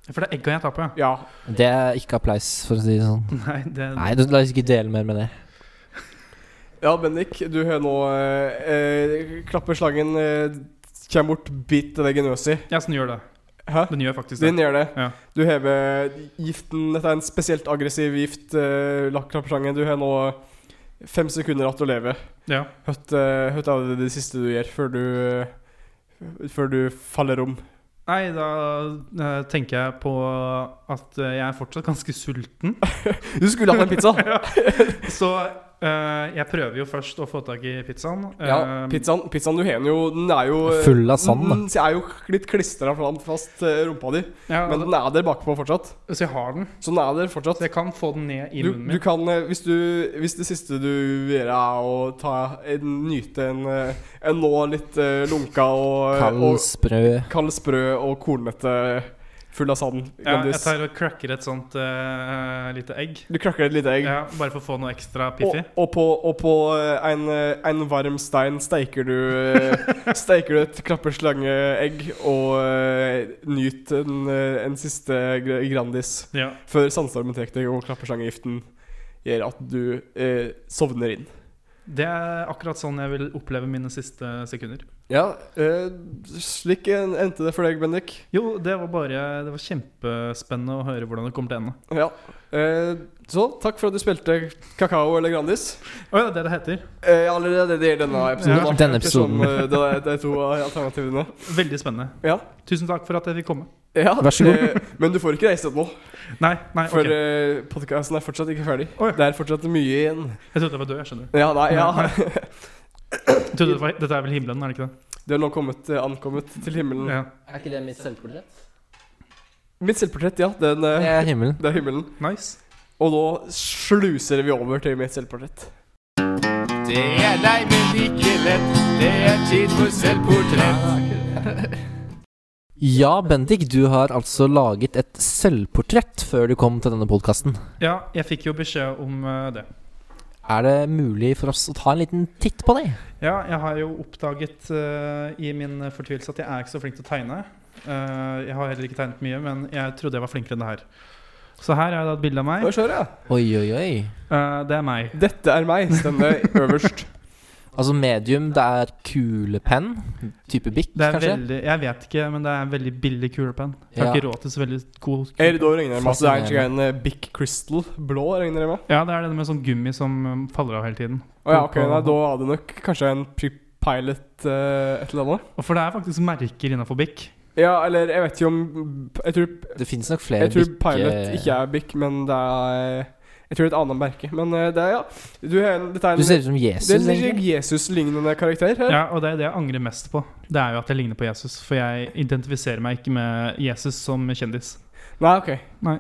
[SPEAKER 3] For det er egga jeg tar på, ja.
[SPEAKER 1] Ja.
[SPEAKER 2] Det er ikke applaus, for å si det sånn.
[SPEAKER 3] Nei, det,
[SPEAKER 2] Nei, du, la oss ikke dele mer med det.
[SPEAKER 1] Ja, Bendik, du har nå eh, eh, Klapper slangen, eh, kommer bort, bit det deg i nøsa.
[SPEAKER 3] Ja, så den gjør det.
[SPEAKER 1] Hæ?
[SPEAKER 3] Den gjør faktisk det.
[SPEAKER 1] Den gjør det.
[SPEAKER 3] Ja.
[SPEAKER 1] Du hever giften Dette er en spesielt aggressiv gift, eh, lakk- klapperslangen. Du har nå fem sekunder igjen å leve.
[SPEAKER 3] Ja.
[SPEAKER 1] Høtt, eh, høtt er det det siste du gjør før du, før du faller om.
[SPEAKER 3] Nei, da eh, tenker jeg på at eh, jeg er fortsatt ganske sulten.
[SPEAKER 1] Du skulle hatt en pizza!
[SPEAKER 3] Så eh, jeg prøver jo først å få tak i pizzaen.
[SPEAKER 1] Ja,
[SPEAKER 3] Eh,
[SPEAKER 1] pizzaen, pizzaen du har den jo Den er jo
[SPEAKER 2] Full av sand, da.
[SPEAKER 1] Den er jo litt klistra fast eh, rumpa di,
[SPEAKER 3] ja, altså-
[SPEAKER 1] men den er der bakpå fortsatt.
[SPEAKER 3] Så jeg har den.
[SPEAKER 1] Så den er der fortsatt.
[SPEAKER 3] Så jeg kan få den ned i
[SPEAKER 1] Du,
[SPEAKER 3] munnen
[SPEAKER 1] du
[SPEAKER 3] min.
[SPEAKER 1] kan, eh, hvis, du, hvis det siste du vil gjøre, er å ta en, nyte en, eh, en nå litt eh, lunka og
[SPEAKER 2] Kald,
[SPEAKER 1] og
[SPEAKER 2] sprø
[SPEAKER 1] kald sprø og kornete full av sand
[SPEAKER 3] Ja, jeg
[SPEAKER 1] Gandhis.
[SPEAKER 3] tar og cracker et sånt eh, lite egg.
[SPEAKER 1] Du krakker et lite egg.
[SPEAKER 3] Ja, bare for å få noe ekstra
[SPEAKER 1] Og,
[SPEAKER 3] piffi.
[SPEAKER 1] og på, og på eh, en, eh, en varm stein steiker du, eh, steiker du et klapperslangeegg og eh, nyt en, eh, en siste gr- Grandis
[SPEAKER 3] Ja.
[SPEAKER 1] før sandstormen tar deg og klapperslangegiften gjør at du eh, sovner inn.
[SPEAKER 3] Det er akkurat sånn jeg vil oppleve mine siste sekunder.
[SPEAKER 1] Ja, eh, slik en- endte det for deg, Bendik.
[SPEAKER 3] Jo, det var bare Det var kjempespennende å høre hvordan det kommer til å ende.
[SPEAKER 1] Ja. Eh, så takk for at du spilte kakao eller Grandis.
[SPEAKER 3] Å ja, det er det det heter.
[SPEAKER 1] Eh, ja, eller det det gjør denne episoden.
[SPEAKER 2] Ja,
[SPEAKER 1] da,
[SPEAKER 2] denne
[SPEAKER 1] ettersom,
[SPEAKER 2] episoden.
[SPEAKER 1] eh, det, er, det er to alternativene.
[SPEAKER 3] Veldig spennende.
[SPEAKER 1] Ja.
[SPEAKER 3] Tusen takk for at jeg fikk komme.
[SPEAKER 1] Ja,
[SPEAKER 2] Vær så god.
[SPEAKER 1] eh, men du får ikke reist deg nå.
[SPEAKER 3] Nei, nei, ok.
[SPEAKER 1] For okay. podkasten er fortsatt ikke ferdig.
[SPEAKER 3] Å, ja.
[SPEAKER 1] Det er fortsatt mye igjen.
[SPEAKER 3] Jeg trodde jeg var død, jeg skjønner.
[SPEAKER 1] Ja, nei, ja.
[SPEAKER 3] Jeg trodde det var, dette er vel himmelen, er det ikke det?
[SPEAKER 1] Du har nå kommet, eh, ankommet til himmelen.
[SPEAKER 3] Ja.
[SPEAKER 2] Er ikke det mitt selvportrett?
[SPEAKER 1] Mitt selvportrett, ja. Den,
[SPEAKER 2] Det
[SPEAKER 1] eh,
[SPEAKER 2] er himmelen.
[SPEAKER 1] det er himmelen.
[SPEAKER 3] Nice.
[SPEAKER 1] Og nå sluser vi over til mitt selvportrett.
[SPEAKER 4] Det er lei, men ikke lett. Det er tid for selvportrett.
[SPEAKER 3] Ah,
[SPEAKER 2] Ja, Bendik, du har altså laget et selvportrett før du kom til denne podkasten.
[SPEAKER 3] Ja, jeg fikk jo beskjed om eh, det.
[SPEAKER 2] Er det mulig for oss å ta en liten titt på det?
[SPEAKER 3] Ja, jeg har jo oppdaget eh, i min fortvilelse at jeg er ikke så flink til å tegne. Eh, jeg har heller ikke tegnet mye, men jeg trodde jeg var flinkere enn det her. Så her er det et bilde av meg.
[SPEAKER 1] Nå kjører jeg.
[SPEAKER 2] Oi, oi, oi.
[SPEAKER 3] Eh, det er meg.
[SPEAKER 1] Dette er meg, stemmer øverst.
[SPEAKER 2] Altså medium, det er kulepenn. Type bikk,
[SPEAKER 3] Det er
[SPEAKER 2] kanskje?
[SPEAKER 3] veldig, jeg vet ikke, men det er en veldig billig kulepenn. Jeg har
[SPEAKER 2] Ja.
[SPEAKER 3] ikke råd til så veldig god
[SPEAKER 1] Er
[SPEAKER 3] kulepenn.
[SPEAKER 1] det da regner jeg med at det er en slik en eh, Bic Crystal blå, regner jeg med?
[SPEAKER 3] Ja, det er den med sånn gummi som um, faller av hele tiden.
[SPEAKER 1] Å ja, ok, nei, da hadde nok kanskje en Pilot eh, et eller annet.
[SPEAKER 3] Og For det er faktisk merker innafor Bic.
[SPEAKER 1] Ja, eller jeg vet ikke om Jeg tror,
[SPEAKER 2] Det fins nok flere
[SPEAKER 1] jeg tror
[SPEAKER 2] bikke-
[SPEAKER 1] Pilot ikke er Bic, men det er Jeg tror det er et annet merke. Men eh, det er, ja. Du, har en- dette er en,
[SPEAKER 2] Du ser ut som Jesus,
[SPEAKER 1] det er en
[SPEAKER 2] egentlig.
[SPEAKER 1] Jesus-lignende karakter her.
[SPEAKER 3] Ja, og det er det jeg angrer mest på. Det er jo at jeg ligner på Jesus, for jeg identifiserer meg ikke med Jesus som kjendis.
[SPEAKER 1] Nei, ok.
[SPEAKER 3] Nei.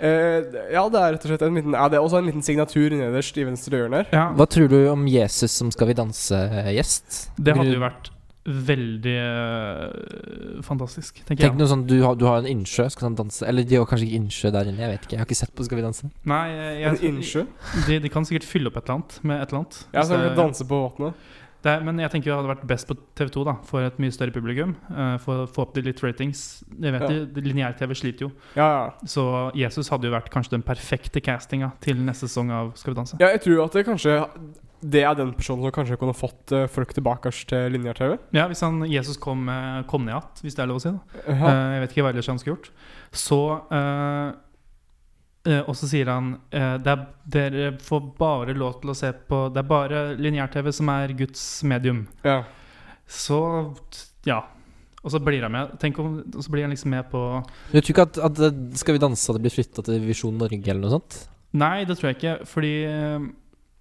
[SPEAKER 1] Eh, ja, det er rett og slett en liten Ja, det er også en liten signatur nederst i venstre hjørne her.
[SPEAKER 3] Ja,
[SPEAKER 2] Hva tror du om Jesus som Skal vi danse-gjest?
[SPEAKER 3] Det hadde
[SPEAKER 2] Vil
[SPEAKER 3] jo
[SPEAKER 2] du-
[SPEAKER 3] vært veldig eh, fantastisk, tenker
[SPEAKER 2] Tenk
[SPEAKER 3] jeg.
[SPEAKER 2] noe sånn, du har, du har en innsjø, skal han danse Eller de har kanskje ikke innsjø der inne, jeg vet ikke. Jeg har ikke sett på Skal vi danse.
[SPEAKER 3] Nei, jeg,
[SPEAKER 1] En
[SPEAKER 3] jeg,
[SPEAKER 1] innsjø.
[SPEAKER 3] de, de kan sikkert fylle opp et eller annet med et eller annet.
[SPEAKER 1] Ja,
[SPEAKER 3] Hvis
[SPEAKER 1] som
[SPEAKER 3] det-
[SPEAKER 1] kan danse på vannet.
[SPEAKER 3] Det er, men jeg tenker det hadde vært best på TV2, da for et mye større publikum. eh, for å få opp de litt ratings. Jeg vet
[SPEAKER 1] Ja.
[SPEAKER 3] jo, Lineær-TV sliter jo.
[SPEAKER 1] Ja, ja.
[SPEAKER 3] Så Jesus hadde jo vært kanskje den perfekte castinga til neste sesong av Skal vi danse.
[SPEAKER 1] Ja, jeg tror at det kanskje Det er den personen som kanskje kunne fått eh, folk tilbake til linjer-TV.
[SPEAKER 3] Ja, Hvis han, Jesus kom, eh, kom ned igjen, hvis det er lov å si. da
[SPEAKER 1] Ja.
[SPEAKER 3] Eh, jeg vet ikke hva ellers han skulle gjort. Så eh, eh, Og så sier han eh, det er, Dere får bare lov til å se på Det er bare lineær-TV som er Guds medium.
[SPEAKER 1] ja.
[SPEAKER 3] Så ja. Og så blir han med. Tenk om, og så blir han liksom med på
[SPEAKER 2] Du tror ikke at, at eh, Skal vi danse hadde blitt flytta til Visjon Norge eller noe sånt?
[SPEAKER 3] Nei, det tror jeg ikke. Fordi eh,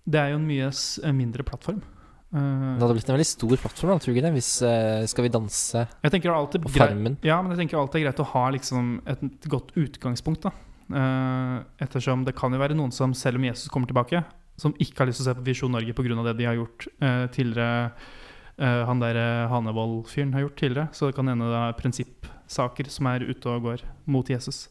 [SPEAKER 3] det er jo en mye s- mindre plattform. Eh,
[SPEAKER 1] Mm.
[SPEAKER 2] Det hadde blitt en veldig stor plattform, da, tror du ikke det? Hvis eh, Skal vi danse
[SPEAKER 3] jeg tenker det er alltid
[SPEAKER 2] og
[SPEAKER 3] greit-
[SPEAKER 2] Farmen
[SPEAKER 3] Ja, men jeg tenker alltid er greit å ha liksom et godt utgangspunkt. da Eh, Ettersom det kan jo være noen som, selv om Jesus kommer tilbake, som ikke har lyst til å se på Visjon Norge pga. det de har gjort eh, tidligere. eh, han der eh, Hanevold-fyren har gjort tidligere. Så det kan hende det er prinsippsaker som er ute og går mot Jesus.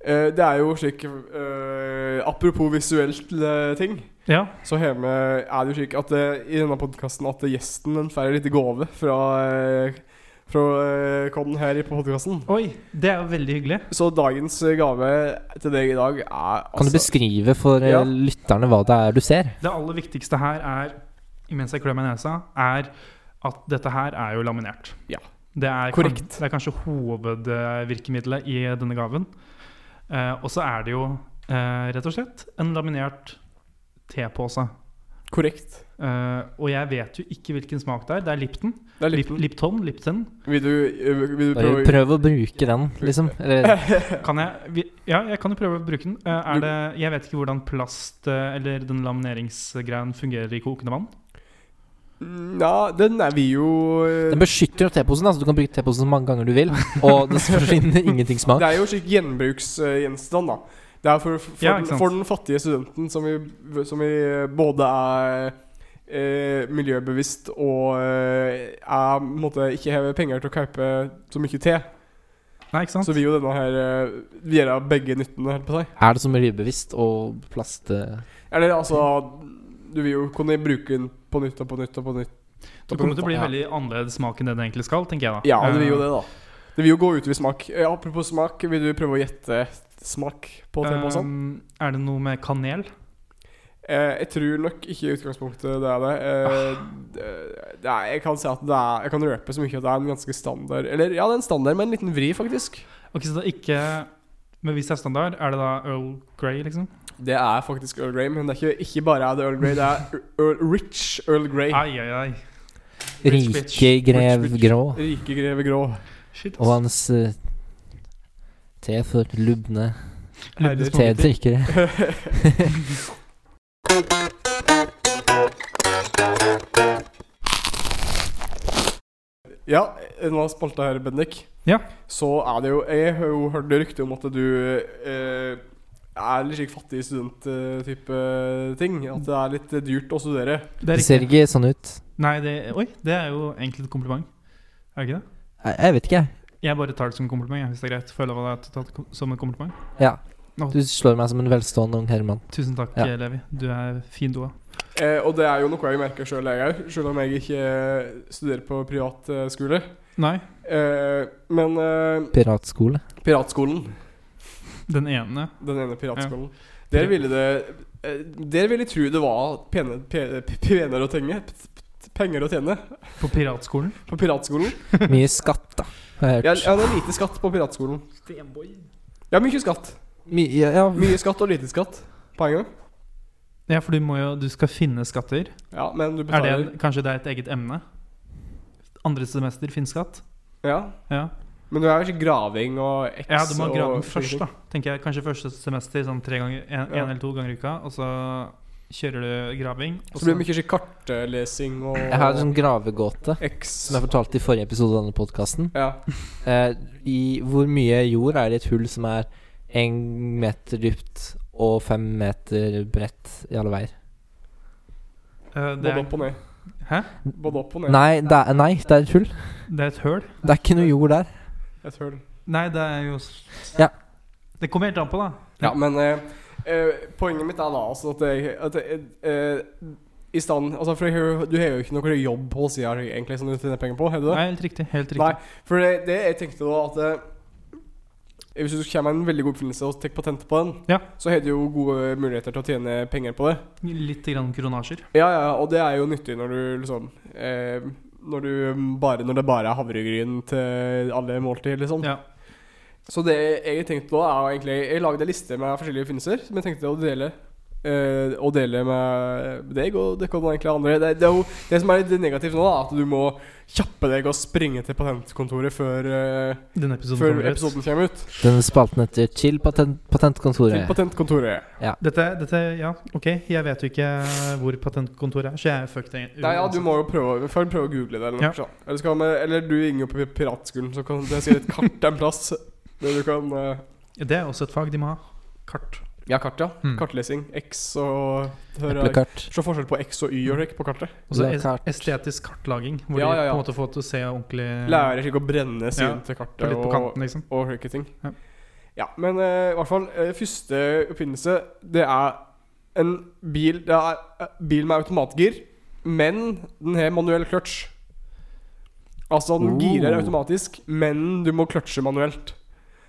[SPEAKER 1] Eh, det er jo slik eh, Apropos visuelt eh, ting,
[SPEAKER 3] Ja,
[SPEAKER 1] så hjemme er det jo slik at eh, i denne podkasten at gjesten den får en liten gave fra eh, fra eh, Kodden her i podkasten.
[SPEAKER 3] Oi, det er jo veldig hyggelig.
[SPEAKER 1] Så dagens eh, gave til deg i dag er
[SPEAKER 2] Kan du beskrive for eh,
[SPEAKER 1] Altså- Ja.
[SPEAKER 2] lytterne hva det er du ser?
[SPEAKER 3] Det aller viktigste her er, imens jeg klør meg i nesa, er at dette her er jo laminert.
[SPEAKER 1] Ja.
[SPEAKER 3] Det er,
[SPEAKER 1] Korrekt.
[SPEAKER 3] Kan, det er kanskje hovedvirkemiddelet i denne gaven. Eh, og så er det jo eh, rett og slett en laminert tepose.
[SPEAKER 1] Korrekt.
[SPEAKER 3] Eh, og jeg vet jo ikke hvilken smak det er. Det er Lipton.
[SPEAKER 1] Det er
[SPEAKER 3] Lip,
[SPEAKER 1] Lipton.
[SPEAKER 3] Lipton, Lipton.
[SPEAKER 1] Vil du, eh, vil du
[SPEAKER 2] Bare
[SPEAKER 1] prøve
[SPEAKER 2] prøv å bruke den, liksom. Eller,
[SPEAKER 3] Kan jeg vi, Ja, jeg kan jo prøve å bruke den. Eh,
[SPEAKER 1] Du-
[SPEAKER 3] er det, jeg vet ikke hvordan plast eh, eller den lamineringsgreien fungerer i kokende vann.
[SPEAKER 1] Ja, den er vi jo eh,
[SPEAKER 2] den beskytter jo teposen, da, så du kan bruke teposen så mange ganger du vil. Og det forsvinner ingenting smak.
[SPEAKER 1] Det er jo slik gjenbruksgjenstand, da. Det er for, for,
[SPEAKER 3] Ja, ikke
[SPEAKER 1] den,
[SPEAKER 3] sant.
[SPEAKER 1] for den fattige studenten som vi, som vi både er eh, miljøbevisst og eh, er, på en måte, ikke har penger til å kjøpe så mye te.
[SPEAKER 3] Nei, ikke sant?
[SPEAKER 1] Så vil jo denne her eh, gjøre begge nyttene, holdt på å si.
[SPEAKER 2] Er det så miljøbevisst og plast eh,
[SPEAKER 1] Eller altså Du vil jo kunne bruke den på nytt og på nytt og på nytt.
[SPEAKER 3] Det kommer til å bli
[SPEAKER 2] Ja.
[SPEAKER 3] veldig annerledes smak enn det den egentlig skal, tenker jeg da.
[SPEAKER 1] Ja, det vil jo
[SPEAKER 3] Eh,
[SPEAKER 1] det, da. Det vil jo gå utover smak. Eh, apropos smak, vil du prøve å gjette smak på te på sånn?
[SPEAKER 3] ehm, er det noe med kanel?
[SPEAKER 1] Eh, jeg tror nok ikke i utgangspunktet det er det. Eh, det- det er, jeg kan si at det er Jeg kan røpe så mye at det er en ganske standard Eller ja, det er en standard med en liten vri, faktisk.
[SPEAKER 3] Ok, så det er ikke Men hvis det er standard, er det da Earl Grey, liksom?
[SPEAKER 1] Det er faktisk Earl Grey, men det er ikke, ikke bare er det Earl Grey, det er Earl, Rich Earl Grey.
[SPEAKER 3] Ai, ai, ai. Rich, bitch.
[SPEAKER 2] rike grev
[SPEAKER 1] Rich, bitch.
[SPEAKER 2] grå?
[SPEAKER 1] Rike greve grå.
[SPEAKER 3] Shit,
[SPEAKER 2] Og
[SPEAKER 3] ass.
[SPEAKER 2] hans eh, te for lubne
[SPEAKER 3] Lubne
[SPEAKER 1] herre.
[SPEAKER 3] smaker.
[SPEAKER 2] tedrikkere.
[SPEAKER 1] Ja, i denne spalta her, Bendik,
[SPEAKER 3] Ja.
[SPEAKER 1] så er det jo Jeg har jo hørt rykte om at du eh, er litt slik fattig student-type ting. At det er litt eh, dyrt å studere.
[SPEAKER 3] Det
[SPEAKER 2] Det
[SPEAKER 3] er
[SPEAKER 2] ser
[SPEAKER 3] riktig.
[SPEAKER 2] ikke sånn ut.
[SPEAKER 3] Nei, det Oi, det er jo egentlig et kompliment. Er det ikke det?
[SPEAKER 2] Jeg, jeg vet ikke, jeg.
[SPEAKER 3] Jeg bare tar det som en kompliment, jeg, hvis det er greit. Føler jeg det er tatt som en kompliment.
[SPEAKER 2] Ja.
[SPEAKER 3] Nå.
[SPEAKER 2] Du slår meg som en velstående ung herremann.
[SPEAKER 3] Tusen takk,
[SPEAKER 2] Ja.
[SPEAKER 3] Levi. Du er fin, du òg.
[SPEAKER 1] Eh, og det er jo noe jeg merker sjøl, jeg òg, sjøl om jeg ikke eh, studerer på privatskole.
[SPEAKER 3] Nei,
[SPEAKER 1] Eh, men eh,
[SPEAKER 2] Piratskole.
[SPEAKER 1] piratskolen,
[SPEAKER 3] den ene
[SPEAKER 1] den ene piratskolen Der ville det eh, Der ville jeg tro det var pene, pe- p- penere å tjene. p- p- Penger å tjene
[SPEAKER 3] på piratskolen.
[SPEAKER 1] på piratskolen.
[SPEAKER 2] Mye skatt, da. Har jeg
[SPEAKER 1] Ja,
[SPEAKER 2] hørt.
[SPEAKER 1] ja, det er lite skatt på piratskolen. Ja, mye skatt.
[SPEAKER 2] Mye, ja, ja.
[SPEAKER 1] Mye skatt og lite skatt på en gang.
[SPEAKER 3] Ja, for du må jo Du skal finne skatter.
[SPEAKER 1] Ja, men du
[SPEAKER 3] Er det
[SPEAKER 1] betaler
[SPEAKER 3] en, kanskje det er et eget emne? Andre semester finnskatt?
[SPEAKER 1] Ja,
[SPEAKER 3] Ja.
[SPEAKER 1] men du er jo ikke graving og X
[SPEAKER 3] ja, du må
[SPEAKER 1] og
[SPEAKER 3] grave den
[SPEAKER 1] slike
[SPEAKER 3] først,
[SPEAKER 1] ting.
[SPEAKER 3] da. Tenker jeg Kanskje første semester sånn tre ganger en, en
[SPEAKER 1] Ja.
[SPEAKER 3] eller to ganger i uka. Og så kjører du graving. Og
[SPEAKER 1] Så blir det mye sånn kartlesing og
[SPEAKER 2] Jeg har en sånn gravegåte
[SPEAKER 1] X.
[SPEAKER 2] som jeg fortalte i forrige episode av denne podkasten.
[SPEAKER 1] Ja.
[SPEAKER 2] Eh, I hvor mye jord er det i et hull som er én meter dypt og fem meter bredt i alle veier?
[SPEAKER 3] Eh, det,
[SPEAKER 1] Både opp
[SPEAKER 3] er,
[SPEAKER 1] og ned.
[SPEAKER 3] hæ?
[SPEAKER 1] Både opp og ned.
[SPEAKER 2] Nei, det er, nei, det er et hull.
[SPEAKER 3] det er et høl.
[SPEAKER 2] Det er ikke noe jord der.
[SPEAKER 1] Et hull.
[SPEAKER 3] Nei, det er jo s-
[SPEAKER 2] Ja.
[SPEAKER 3] Det kommer helt an på, da.
[SPEAKER 1] Ja, men eh, eh, poenget mitt er da altså at, jeg, at jeg, eh, i stand, altså for jeg, hører- Du har jo ikke noe jobb på sida egentlig som du tjener penger på, har du det?
[SPEAKER 3] Nei, helt riktig. Helt riktig.
[SPEAKER 1] Nei, for det, det jeg tenkte da at eh, Hvis du kommer med en veldig god oppfinnelse og tar patent på den,
[SPEAKER 3] Ja.
[SPEAKER 1] så har du jo gode muligheter til å tjene penger på det.
[SPEAKER 3] Litt grann kronasjer.
[SPEAKER 1] Ja, ja, og det er jo nyttig når du liksom eh, når, du mm, bare, når det bare er havregryn til alle måltider, liksom.
[SPEAKER 3] Ja.
[SPEAKER 1] Så det jeg tenkte da, er jo egentlig Jeg lagde en liste med forskjellige oppfinnelser som jeg tenkte å dele. eh, å dele med deg, og det kommer egentlig andre. Det, det er jo det som er litt negativt nå, da, er at du må kjappe deg og springe til patentkontoret før eh,
[SPEAKER 3] Denne episoden
[SPEAKER 1] før
[SPEAKER 3] kommer ut.
[SPEAKER 1] episoden kommer ut.
[SPEAKER 2] Denne spalten heter Chill patent,
[SPEAKER 1] Til
[SPEAKER 2] Patentkontoret.
[SPEAKER 1] patentkontoret.
[SPEAKER 3] Dette, dette, ja, ok. Jeg vet jo ikke hvor patentkontoret er, så jeg er fucked. egentlig.
[SPEAKER 1] Nei, ja, du må jo prøve, får prøve å google det. Eller, noe,
[SPEAKER 3] altså. Ja.
[SPEAKER 1] sånn. eller, skal vi- eller du ringer opp i piratskolen, så kan jeg si et kart en plass. Der du kan eh,
[SPEAKER 3] Det er også et fag de må ha. Kart.
[SPEAKER 1] Ja, kart, ja.
[SPEAKER 3] Mm.
[SPEAKER 1] Kartlesing. X og Se
[SPEAKER 2] Eplekart.
[SPEAKER 1] forskjell på X og Y og rekk på kartet.
[SPEAKER 3] Og så
[SPEAKER 2] Det er
[SPEAKER 3] Altså, es-
[SPEAKER 2] kart.
[SPEAKER 3] estetisk kartlaging, hvor
[SPEAKER 1] Ja, ja,
[SPEAKER 3] de
[SPEAKER 1] ja.
[SPEAKER 3] på en måte får til å se ordentlig
[SPEAKER 1] Lærer slik å brenne siden
[SPEAKER 3] Ja,
[SPEAKER 1] til
[SPEAKER 3] på
[SPEAKER 1] kartet
[SPEAKER 3] litt på
[SPEAKER 1] og,
[SPEAKER 3] kanten, liksom.
[SPEAKER 1] og slike ting.
[SPEAKER 3] Ja.
[SPEAKER 1] Ja, men eh, i hvert fall eh, Første oppfinnelse, det er en bil Det er eh, bil med automatgir, men den har manuell clutch. Altså, den
[SPEAKER 2] Oh.
[SPEAKER 1] girer automatisk, men du må clutche manuelt.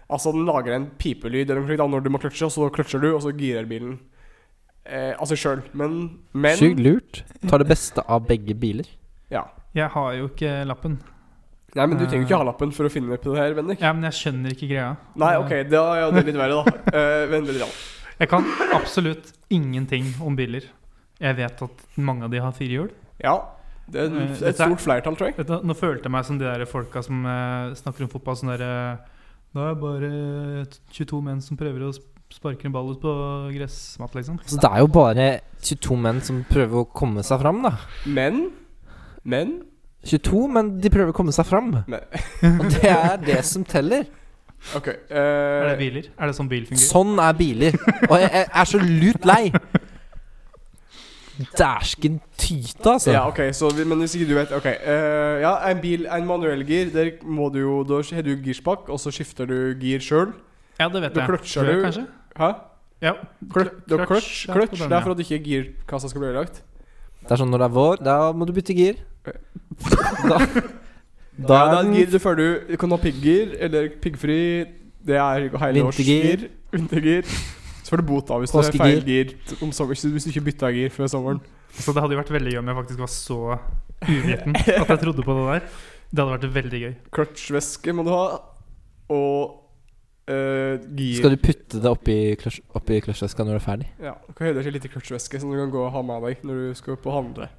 [SPEAKER 1] Altså, den lager en pipelyd eller noe slikt da, når du må clutche, og så clutcher du, og så girer bilen. Eh, altså sjøl, men Men
[SPEAKER 2] Sjukt lurt. Tar det beste av begge biler.
[SPEAKER 1] Ja.
[SPEAKER 3] Jeg har jo ikke lappen.
[SPEAKER 1] Nei,
[SPEAKER 3] Eh.
[SPEAKER 1] men du trenger jo ikke ha lappen for å finne på det her, Bendik.
[SPEAKER 3] Ja, men jeg skjønner ikke greia.
[SPEAKER 1] Nei, OK, da er jo det litt verre, da. Eh, Vennlig talt.
[SPEAKER 3] Jeg kan absolutt ingenting om biler. Jeg vet at mange av de har firehjul.
[SPEAKER 1] Ja. Det er
[SPEAKER 3] Eh,
[SPEAKER 1] et
[SPEAKER 3] dette er-
[SPEAKER 1] stort flertall, tror jeg.
[SPEAKER 3] Vet du, nå følte jeg meg som de der folka som eh, snakker om fotball sånn der eh, Da er det bare 22 menn som prøver å sp- sparke en ball ut på gressmatt, liksom.
[SPEAKER 2] Så det er jo bare 22 menn som prøver å komme seg fram, da.
[SPEAKER 1] Men Men
[SPEAKER 2] 22, men de prøver å komme seg fram.
[SPEAKER 1] Men-
[SPEAKER 2] Og det er det som teller.
[SPEAKER 1] OK. eh,
[SPEAKER 3] Er det biler? Er det sånn bil fungerer?
[SPEAKER 2] Sånn er biler. Og jeg, jeg er så lut lei. Dæsken tyte, altså.
[SPEAKER 1] ja, ok, så vi, Men hvis ikke du vet OK. eh, ja, en bil, en manuellgir, der må du jo Da har du girspak, og så skifter du gir sjøl.
[SPEAKER 3] Ja, det vet
[SPEAKER 1] Da
[SPEAKER 3] jeg.
[SPEAKER 1] kløtsjer
[SPEAKER 3] Tror jeg,
[SPEAKER 1] du.
[SPEAKER 3] Kanskje?
[SPEAKER 1] Hæ?
[SPEAKER 3] Ja.
[SPEAKER 1] Klø- du har Kløtsj.
[SPEAKER 3] ja,
[SPEAKER 1] Kløtsj.
[SPEAKER 3] på den,
[SPEAKER 1] Det
[SPEAKER 3] ja.
[SPEAKER 1] er for at ikke girkassa skal bli ødelagt.
[SPEAKER 2] Det er sånn når det er vår, da må du bytte gir. Da, da
[SPEAKER 1] Ja, det
[SPEAKER 2] er
[SPEAKER 1] er et
[SPEAKER 2] den
[SPEAKER 1] gir du før du, du kan ha pigggir eller piggfri. Det er helårsgir.
[SPEAKER 2] Vintergir.
[SPEAKER 1] Vintergir. Så får du bot da hvis du har
[SPEAKER 2] Påskegir.
[SPEAKER 1] feil gir om sommeren. hvis du- Hvis du ikke bytta gir før sommeren.
[SPEAKER 3] Så det hadde jo vært veldig gøy om jeg faktisk var så uviten at jeg trodde på det der. Det hadde vært veldig gøy.
[SPEAKER 1] Clutchvæske må du ha. Og eh, gir
[SPEAKER 2] Skal du putte det oppi, kløsj- oppi kløsjveska når du er ferdig?
[SPEAKER 1] Ja, du kan høre deg litt i clutchvæske som du kan gå og ha med deg når du skal opp og handle.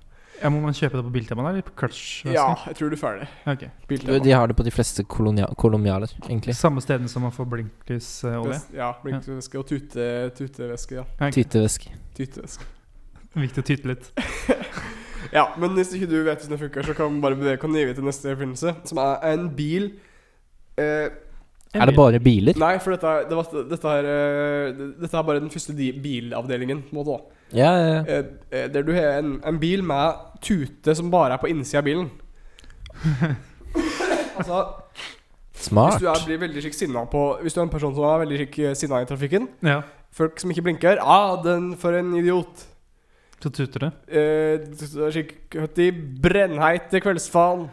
[SPEAKER 3] Ja, Må man kjøpe det på Biltema der? eller På Clutch?
[SPEAKER 1] Ja, jeg tror du er ferdig.
[SPEAKER 3] Ja, ok.
[SPEAKER 2] Du, de har det på de fleste kolonia kolonialer, egentlig.
[SPEAKER 3] Samme stedene som man får blinklysolje?
[SPEAKER 1] Ja, blinkvæske og tute, tutevæske. Ja.
[SPEAKER 3] Ja, ok.
[SPEAKER 2] Tytevesk.
[SPEAKER 1] Tutevæske.
[SPEAKER 3] Viktig å tyte litt.
[SPEAKER 1] Ja, men hvis ikke du vet hvordan det funker, så kan vi bare bevege oss videre til neste oppfinnelse, som er en bil eh,
[SPEAKER 2] Er det bare biler?
[SPEAKER 1] Nei, for dette, er- det var, dette, er, eh, det- dette er bare den første di- bilavdelingen. På en måte, da.
[SPEAKER 2] Ja, ja, ja.
[SPEAKER 1] Eh, eh, der du har en, en bil med tute som bare er på innsida av bilen. altså, hvis
[SPEAKER 2] Smart.
[SPEAKER 1] du er, blir veldig skikk sinna på Hvis du er en person som er veldig skikk eh, sinna i trafikken
[SPEAKER 3] Ja,
[SPEAKER 1] Folk som ikke blinker ah, den for en idiot.
[SPEAKER 3] Så tuter det.
[SPEAKER 1] Eh, du er skikk høtti brennheit til kveldsfaen.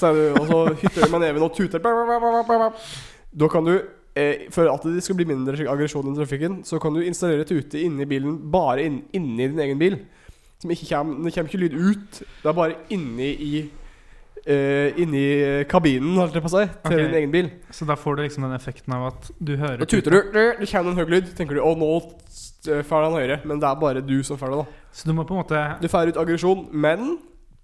[SPEAKER 1] Så er du, og så hytter du med neven og tuter. Da kan du eh, For at det skal bli mindre slik aggresjon i trafikken, så kan du installere tute inni bilen, bare inn, inni din egen bil. Som ikke kjem, det kommer ikke lyd ut. Det er bare inni i eh, inni kabinen, holdt jeg på å si, til
[SPEAKER 3] Ok.
[SPEAKER 1] din egen bil.
[SPEAKER 3] Så da får du liksom den effekten av at du hører
[SPEAKER 1] Da tuter du, det kommer en høy lyd, tenker du 'Å, nå fær han høyre', men det er bare du som fær det, da.
[SPEAKER 3] Så du må på en måte
[SPEAKER 1] Du fær ut aggresjon, men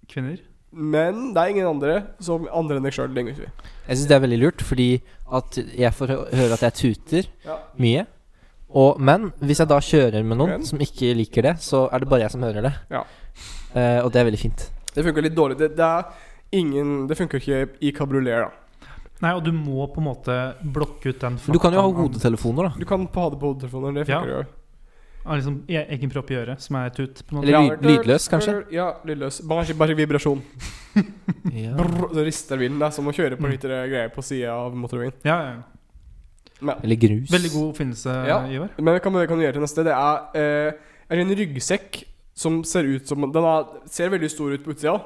[SPEAKER 3] Kvinner.
[SPEAKER 1] Men det er ingen andre som andre enn deg sjøl. Ja.
[SPEAKER 2] Jeg syns det er veldig lurt, fordi at jeg får hø- høre at jeg tuter mye. Og, men hvis jeg da kjører med noen
[SPEAKER 1] Men?
[SPEAKER 2] som ikke liker det, så er det bare jeg som hører det.
[SPEAKER 1] Ja.
[SPEAKER 2] Eh, og det er veldig fint.
[SPEAKER 1] Det funker litt dårlig. Det, det er ingen Det funker ikke i kabriolet, da.
[SPEAKER 3] Nei, og du må på en måte blokke ut den
[SPEAKER 2] Men du kan jo ha
[SPEAKER 3] faktoren av-
[SPEAKER 2] hodetelefoner, da.
[SPEAKER 1] Du kan på ha det på hodetelefoner. Det funker jo.
[SPEAKER 3] av liksom e- egen propp i øret, som er tut. På en måte.
[SPEAKER 2] Eller lyd, lydløs, kanskje.
[SPEAKER 1] Ja, lydløs. Bare, bare vibrasjon.
[SPEAKER 2] Ja.
[SPEAKER 1] Brrr, så rister bilen. Det er som å kjøre på
[SPEAKER 3] Mm.
[SPEAKER 1] litt eh, greier på sida av motorveien.
[SPEAKER 3] Ja, ja, ja.
[SPEAKER 2] Eller grus.
[SPEAKER 3] Veldig god oppfinnelse,
[SPEAKER 1] Ja.
[SPEAKER 3] Ivar.
[SPEAKER 1] Men det kan, det kan du gjøre til neste. Det er eh, er en ryggsekk som ser ut som Den er, ser veldig stor ut på utsida,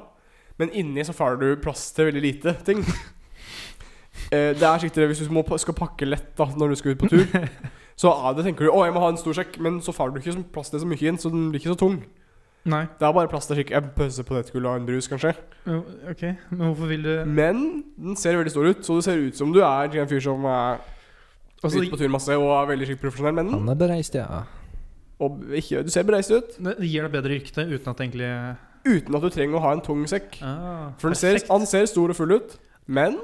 [SPEAKER 1] men inni så får du plass til veldig lite ting. Eh, det er sikkert Hvis du må, pa- skal pakke lett da når du skal ut på tur, så er det, tenker du å jeg må ha en stor sekk, men så får du ikke så- plass til så mye inn, så den blir ikke så tung.
[SPEAKER 3] Nei,
[SPEAKER 1] Det er bare plass til skikkelig en pølse potetgull og en brus, kanskje.
[SPEAKER 3] jo, ok. Men hvorfor vil
[SPEAKER 1] Mm.
[SPEAKER 3] du
[SPEAKER 1] Men den ser veldig stor ut, så det ser ut som du er en fyr som er
[SPEAKER 3] Altså,
[SPEAKER 1] ute på tur masse og er veldig skikkelig profesjonell med den.
[SPEAKER 2] Han er bereist, ja.
[SPEAKER 1] Og ikke, du ser bereist ut.
[SPEAKER 3] det det gir deg bedre rykte uten at det egentlig
[SPEAKER 1] uten at du trenger å ha en tung sekk.
[SPEAKER 3] ah,
[SPEAKER 1] For den ser,
[SPEAKER 3] perfekt.
[SPEAKER 1] han ser stor og full ut, men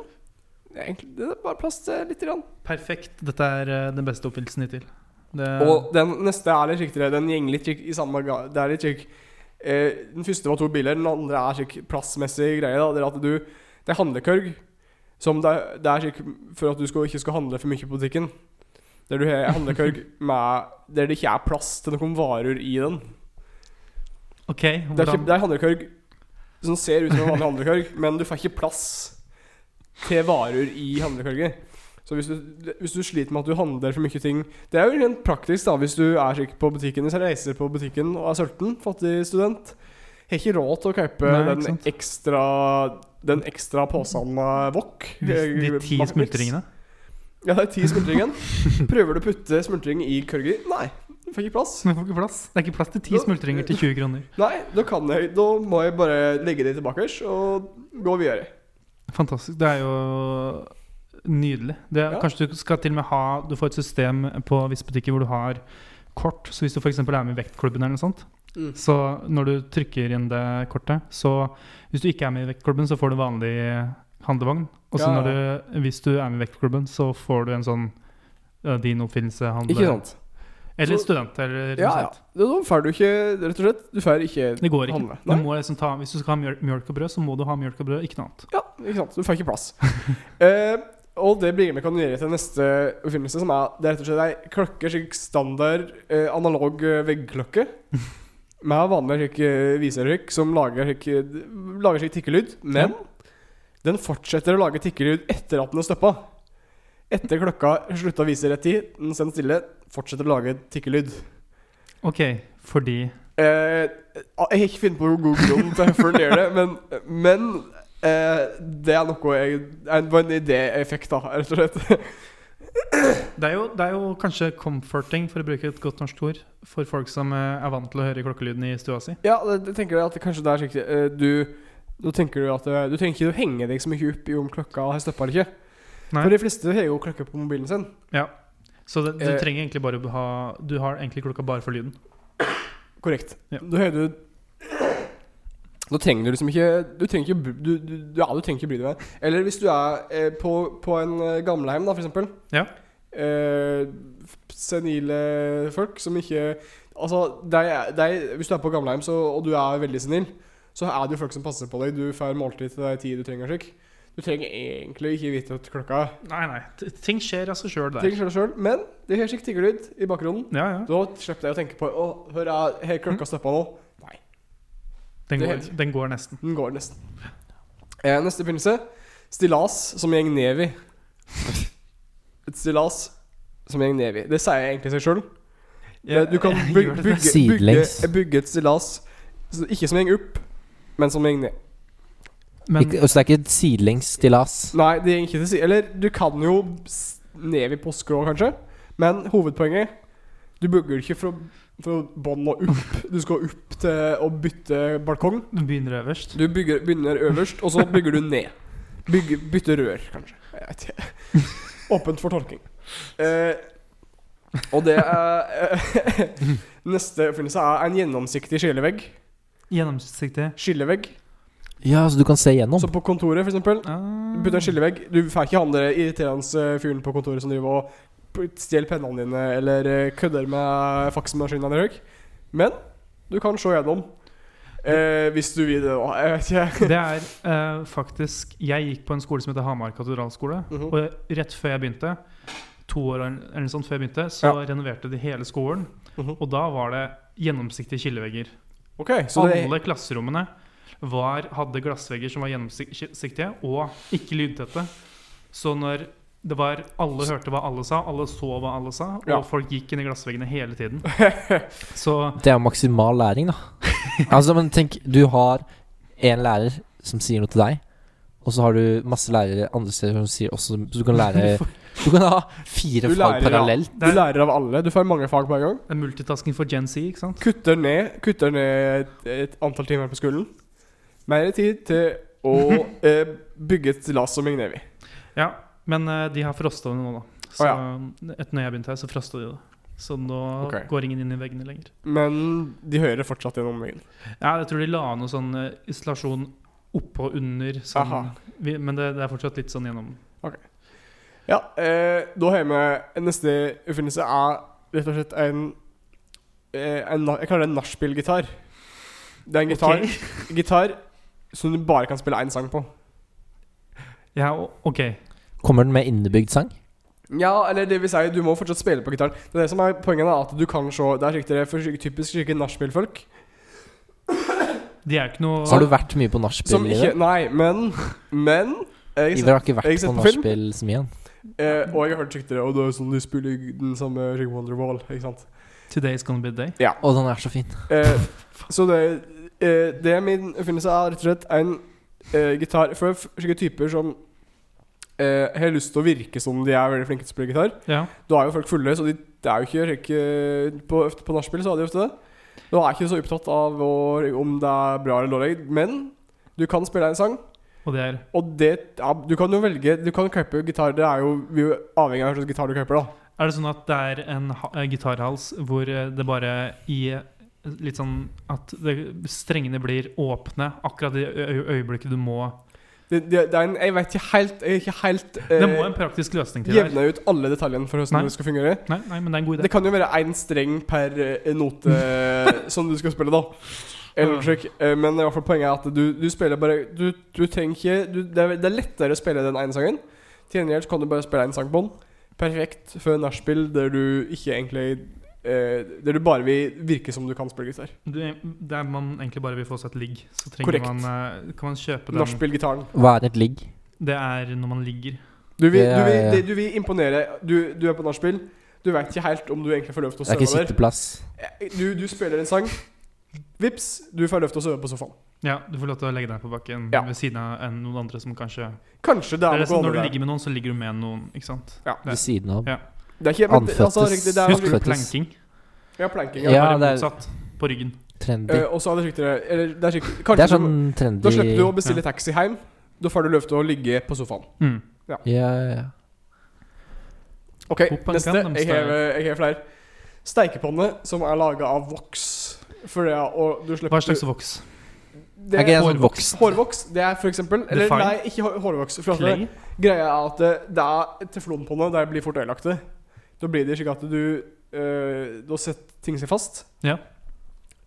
[SPEAKER 1] det er egentlig det er bare plass til litt. Grann.
[SPEAKER 3] Perfekt. Dette er eh, den beste oppfinnelsen hittil. Det,
[SPEAKER 1] Og den neste er litt riktigere. Den gjenger litt rik- i samme ga Det er litt rik. Eh, den første var to biler, den andre er slik plassmessig greie. Da. Det er at du Det er handlekørg. Som det er, det er slik for at du skal, ikke skal handle for mye på butikken. Der du har handlekørg med Der det ikke er plass til noen varer i den.
[SPEAKER 3] ok,
[SPEAKER 1] Det er,
[SPEAKER 3] hvordan,
[SPEAKER 1] ikke, det er handlekørg som ser ut som en vanlig handlekørg, men du får ikke plass til varer i handlekørger. Så hvis du, hvis du sliter med at du handler for mye ting Det er jo rent praktisk da hvis du er sikker på butikken Hvis jeg reiser på butikken og er sulten, fattig student. Har ikke råd til å kjøpe
[SPEAKER 3] Nei, ikke
[SPEAKER 1] den
[SPEAKER 3] sant.
[SPEAKER 1] ekstra Den ekstra posen med wok.
[SPEAKER 3] de, de
[SPEAKER 1] eh,
[SPEAKER 3] ti
[SPEAKER 1] Magnix.
[SPEAKER 3] smultringene?
[SPEAKER 1] Ja, det er ti smultringen. Prøver du å putte smultring i kørger? Nei, du får ikke plass.
[SPEAKER 3] Du får ikke plass. Det er ikke plass til ti
[SPEAKER 1] Da-
[SPEAKER 3] smultringer til 20 kroner.
[SPEAKER 1] Nei, da kan jeg Da må jeg bare legge det tilbake og gå videre.
[SPEAKER 3] Fantastisk. Det er jo nydelig. Det, er-
[SPEAKER 1] Ja.
[SPEAKER 3] Kanskje du skal til og med ha Du får et system på visse butikker hvor du har kort. Så hvis du f.eks. er med i vektklubben eller noe sånt,
[SPEAKER 1] Mm.
[SPEAKER 3] så når du trykker inn det kortet, så Hvis du ikke er med i vektklubben, så får du vanlig handlevogn. Og så
[SPEAKER 1] Ja, ja.
[SPEAKER 3] når du, hvis du er med i vektklubben, så får du en sånn eh, din oppfinnelse handle.
[SPEAKER 1] Ikke sant?
[SPEAKER 3] Eller
[SPEAKER 1] Så-
[SPEAKER 3] student, eller noe
[SPEAKER 1] Ja, ja.
[SPEAKER 3] sånt.
[SPEAKER 1] Da da får du ikke Rett og slett, du får ikke
[SPEAKER 3] Det går ikke.
[SPEAKER 1] handle.
[SPEAKER 3] Du
[SPEAKER 1] Nei,
[SPEAKER 3] må liksom ta, hvis du skal ha mjøl- mjølk og brød, så må du ha mjølk og brød, ikke noe annet.
[SPEAKER 1] ja, ikke sant. Du får ikke plass. Eh, og det bringer meg kan gjøre til neste oppfinnelse, som er det er rett og slett ei klokke, slik standard eh, analog eh, veggklokke. Med vanlig slik eh, viserykk som lager slik, eh, lager slik tikkelyd. Men den fortsetter å lage tikkelyd etter at den er stoppa. Etter klokka slutta å vise rett tid, den sender stille, fortsetter å lage tikkelyd.
[SPEAKER 3] Ok, fordi
[SPEAKER 1] Eh, jeg har ikke funnet på noen god grunn til hvorfor den gjør det, men, men eh, det er noe jeg Det var en idéeffekt, da, rett og slett.
[SPEAKER 3] det er, jo, det er jo kanskje comforting, for å bruke et godt norsk ord, for folk som eh, er vant til å høre klokkelyden i stua si.
[SPEAKER 1] Ja, det, det tenker jeg at det kanskje det er slik eh, Du nå tenker du at eh, du trenger ikke å henge deg så mye opp i om klokka har stoppa eller ikke.
[SPEAKER 3] Nei.
[SPEAKER 1] For de fleste har jo klokke på mobilen sin.
[SPEAKER 3] Så det, du
[SPEAKER 1] Eh.
[SPEAKER 3] trenger egentlig bare å ha Du har egentlig klokka bare for lyden.
[SPEAKER 1] Korrekt.
[SPEAKER 3] Ja.
[SPEAKER 1] Da hører du Da trenger du liksom ikke Du trenger ikke bry- du, du, Ja, du trenger ikke bry deg mer. Eller hvis du er eh, på, på en eh, gamlehjem, da, for eksempel.
[SPEAKER 3] Ja.
[SPEAKER 1] Eh, f- senile folk som ikke Altså, de, er- de, hvis du er på gamlehjem så, og du er veldig senil, så er det jo folk som passer på deg. Du får måltid til deg tid du trenger. og Slik. Du trenger egentlig ikke vite at klokka er
[SPEAKER 3] Nei, nei. t- Ting skjer av seg sjøl der.
[SPEAKER 1] Ting skjer selv, Men det høres ikke tiggerlyd i bakgrunnen.
[SPEAKER 3] Ja, ja.
[SPEAKER 1] Da slipper jeg å tenke på Å, hør, jeg- har klokka stoppa nå?
[SPEAKER 3] Den
[SPEAKER 1] Det
[SPEAKER 3] går,
[SPEAKER 1] heter-
[SPEAKER 3] den går nesten.
[SPEAKER 1] Den går nesten. Eh, neste begynnelse. Stillas som gjeng ned i. Et stillas som gjeng ned i. Det sier jeg egentlig seg sjøl.
[SPEAKER 3] Jeg-
[SPEAKER 1] Du kan
[SPEAKER 3] jeg
[SPEAKER 1] byg-
[SPEAKER 3] gjør det.
[SPEAKER 1] bygge, bygge,
[SPEAKER 2] Sidelengs.
[SPEAKER 1] bygge et stillas så- ikke som gjeng opp, men som gjeng ned.
[SPEAKER 3] Men
[SPEAKER 2] Ikke, så det er ikke et sidelengs stillas.
[SPEAKER 1] Nei, det gjeng ikke til side. Eller du kan jo s- ned i på skrå, kanskje, men hovedpoenget Du bygger ikke fra, fra bånn og opp. Du skal opp til å bytte balkong.
[SPEAKER 3] Du begynner øverst.
[SPEAKER 1] Du bygger, begynner øverst, og så bygger du ned. Bygge, bytte rør, kanskje. Jeg vet ikke. Åpent for tolking. Eh, og det er eh, Neste oppfinnelse er en gjennomsiktig skillevegg.
[SPEAKER 3] Gjennomsiktig.
[SPEAKER 1] Skillevegg.
[SPEAKER 2] Ja, så du kan se gjennom?
[SPEAKER 1] Så på kontoret, for eksempel,
[SPEAKER 3] Ah.
[SPEAKER 1] Putte en skillevegg. Du får ikke han der irriterende eh, fyren på kontoret som driver og p- stjeler pennene dine eller eh, kødder med faksmaskinen din røyk. Men du kan se gjennom. Eh, hvis du vil det, da. Jeg vet ikke.
[SPEAKER 3] Det er eh, faktisk Jeg gikk på en skole som heter Hamar katedralskole.
[SPEAKER 1] Mhm.
[SPEAKER 3] Og rett før jeg begynte, to år eller noe sånt før jeg begynte, så renoverte de hele skolen.
[SPEAKER 1] Mhm.
[SPEAKER 3] Og da var det gjennomsiktige skillevegger.
[SPEAKER 1] Ok, så det,
[SPEAKER 3] Alle klasserommene var, hadde glassvegger som var gjennomsiktige og ikke lydtette. Så når det var Alle hørte hva alle sa, alle så hva alle sa, og
[SPEAKER 1] Ja.
[SPEAKER 3] folk gikk inn i glassveggene hele tiden. Så
[SPEAKER 2] Det er jo maksimal læring, da. altså, men tenk, du har én lærer som sier noe til deg, og så har du masse lærere andre steder som sier også Så du kan lære Du kan ha fire
[SPEAKER 1] Du lærer,
[SPEAKER 2] fag
[SPEAKER 1] ja.
[SPEAKER 2] parallelt.
[SPEAKER 1] du lærer av alle. Du får mange fag på en gang.
[SPEAKER 3] det er eh, multitasking for Gen Z, ikke sant?
[SPEAKER 1] Kutter ned, kutter ned et, et antall timer på skolen. Mer tid til å eh, bygge et lass og Mignevi.
[SPEAKER 3] Ja, men eh, de har frosta det nå, da. Så eh,
[SPEAKER 1] Å,
[SPEAKER 3] etter når jeg begynte her, så frosta de det. Så nå
[SPEAKER 1] Ok.
[SPEAKER 3] går ingen inn i veggene lenger.
[SPEAKER 1] Men de hører fortsatt gjennom veggen.
[SPEAKER 3] Ja, jeg tror de la noe sånn eh, isolasjon oppå og under, sånn,
[SPEAKER 1] Aha.
[SPEAKER 3] vi, men det, det er fortsatt litt sånn gjennom.
[SPEAKER 1] Ja, eh, da har jeg med neste oppfinnelse er rett og slett en, eh, en na- Jeg kaller det en nachspiel-gitar. Det er en gitar,
[SPEAKER 3] Ok.
[SPEAKER 1] gitar som du bare kan spille én sang på.
[SPEAKER 3] Ja, o- ok.
[SPEAKER 2] Kommer den med innebygd sang?
[SPEAKER 1] Ja, eller det vil si, du må fortsatt spille på gitaren. Det er det som er poenget, da, at du kan se Det er slik dere for slik- typisk slike nachspiel-folk.
[SPEAKER 3] De er jo ikke noe
[SPEAKER 2] Så har du vært mye på
[SPEAKER 1] Som
[SPEAKER 2] nachspiel i
[SPEAKER 1] ikke
[SPEAKER 2] det?
[SPEAKER 1] Nei, men Men jeg,
[SPEAKER 2] Iver har ikke
[SPEAKER 1] jeg har
[SPEAKER 2] vært
[SPEAKER 1] sett
[SPEAKER 2] på
[SPEAKER 1] på film.
[SPEAKER 2] nachspiel så mye. han.
[SPEAKER 1] eh, Og jeg har hørt slik dere, og det er sånn de spiller den samme slik Wonderwall, ikke sant.
[SPEAKER 3] Today's gonna be the day.
[SPEAKER 2] Å, den er så fin.
[SPEAKER 1] Eh, så det, eh, det er min oppfinnelse er rett og slett en eh, gitar for f- slike typer som eh, har lyst til å virke som de er veldig flinke til å spille gitar.
[SPEAKER 3] Ja.
[SPEAKER 1] Da er jo folk fulle, så de, det er jo ikke slik eh, På, ofte på nachspiel så er de ofte det. Da er jeg ikke så opptatt av å, om det er bra eller dårlig, men du kan spille en sang.
[SPEAKER 3] Og det er
[SPEAKER 1] Og det ja, Du kan jo velge Du kan klippe gitar. Det er jo vi er jo avhengig av hva slags gitar du klipper, da.
[SPEAKER 3] Er det sånn at det er en ha- eh, gitarhals hvor eh, det bare i eh, Litt sånn at det, strengene blir åpne akkurat i ø- ø- øyeblikket du må
[SPEAKER 1] Det, det, det er en Jeg vet ikke helt Jeg er ikke helt eh,
[SPEAKER 3] Det må en praktisk løsning til der.
[SPEAKER 1] jevne ut alle detaljene for
[SPEAKER 3] Nei.
[SPEAKER 1] hvordan det skal fungere.
[SPEAKER 3] Nei, nei, men det er en god idé.
[SPEAKER 1] Eh, Det kan jo være én streng per eh, note som du skal spille, da. Eller noe slik. Eh, Men i hvert fall poenget er at du, du spiller bare Du, du trenger ikke du, det, er, det er lettere å spille den ene sangen. Til gjengjeld så kan du bare spille én sang på den. Perfekt for nachspiel der du ikke egentlig eh, Der du bare vil virke som du kan spille gitar.
[SPEAKER 3] Du, det er man egentlig bare vil få seg et ligg. Så trenger
[SPEAKER 1] Korrekt.
[SPEAKER 3] man, eh, kan man kjøpe den.
[SPEAKER 1] Nachspiel-gitaren.
[SPEAKER 2] Hva er et ligg?
[SPEAKER 3] Det er når man ligger.
[SPEAKER 1] Du, vil-
[SPEAKER 2] Det er-
[SPEAKER 1] du, vil- det- du vil imponere. Du, du er på nachspiel. Du veit ikke helt om du egentlig får lov til å
[SPEAKER 2] Det er ikke
[SPEAKER 1] sove der.
[SPEAKER 2] sitteplass.
[SPEAKER 1] Du, du spiller en sang. Vips, du får lov til å sove på sofaen.
[SPEAKER 3] Ja, Du får lov til å legge deg på bakken
[SPEAKER 1] Ja.
[SPEAKER 3] ved siden av en- noen andre som kanskje
[SPEAKER 1] Kanskje det
[SPEAKER 3] det
[SPEAKER 1] er
[SPEAKER 3] er
[SPEAKER 1] noe
[SPEAKER 3] sånn, Når du
[SPEAKER 1] annet der.
[SPEAKER 3] ligger med noen, så ligger du med noen. ikke sant?
[SPEAKER 1] Ja.
[SPEAKER 3] Det-
[SPEAKER 2] Ved siden av.
[SPEAKER 3] Ja.
[SPEAKER 1] Det er ikke men det- altså,
[SPEAKER 2] Anføttes-
[SPEAKER 1] riktig, det er
[SPEAKER 2] Husk
[SPEAKER 1] noe-
[SPEAKER 3] Husker du
[SPEAKER 2] Faktisk.
[SPEAKER 3] planking?
[SPEAKER 1] Ja, planking.
[SPEAKER 2] Ja,
[SPEAKER 1] Ja.
[SPEAKER 3] bare
[SPEAKER 2] det er-
[SPEAKER 3] motsatt på ryggen.
[SPEAKER 2] Trendy.
[SPEAKER 1] Eh, og så er det slik dere Eller det er slik
[SPEAKER 2] Det
[SPEAKER 1] Kanskje
[SPEAKER 2] er sånn
[SPEAKER 1] du, Da slipper
[SPEAKER 2] trendy
[SPEAKER 1] du å bestille taxi hjem. Da får du lov til å ligge på sofaen.
[SPEAKER 3] Mm.
[SPEAKER 2] Ja, ja, ja.
[SPEAKER 1] Ok,
[SPEAKER 3] Hopp and
[SPEAKER 1] neste.
[SPEAKER 3] Gundam
[SPEAKER 1] Jeg har, eh, jeg har flere. Steikepanne som er laga av voks. For det er og du slipper
[SPEAKER 3] Hva slags voks?
[SPEAKER 1] det
[SPEAKER 2] Er ikke det
[SPEAKER 1] er,
[SPEAKER 2] en sånn voks?
[SPEAKER 1] Hårvoks, det er for eksempel Eller
[SPEAKER 3] Define.
[SPEAKER 1] nei, ikke hår- hårvoks. For at det,
[SPEAKER 3] Clay?
[SPEAKER 1] greia er at eh, det, det er teflonpanne. De blir fort ødelagte. Da blir det slik at du eh, Da setter ting seg fast.
[SPEAKER 3] Ja.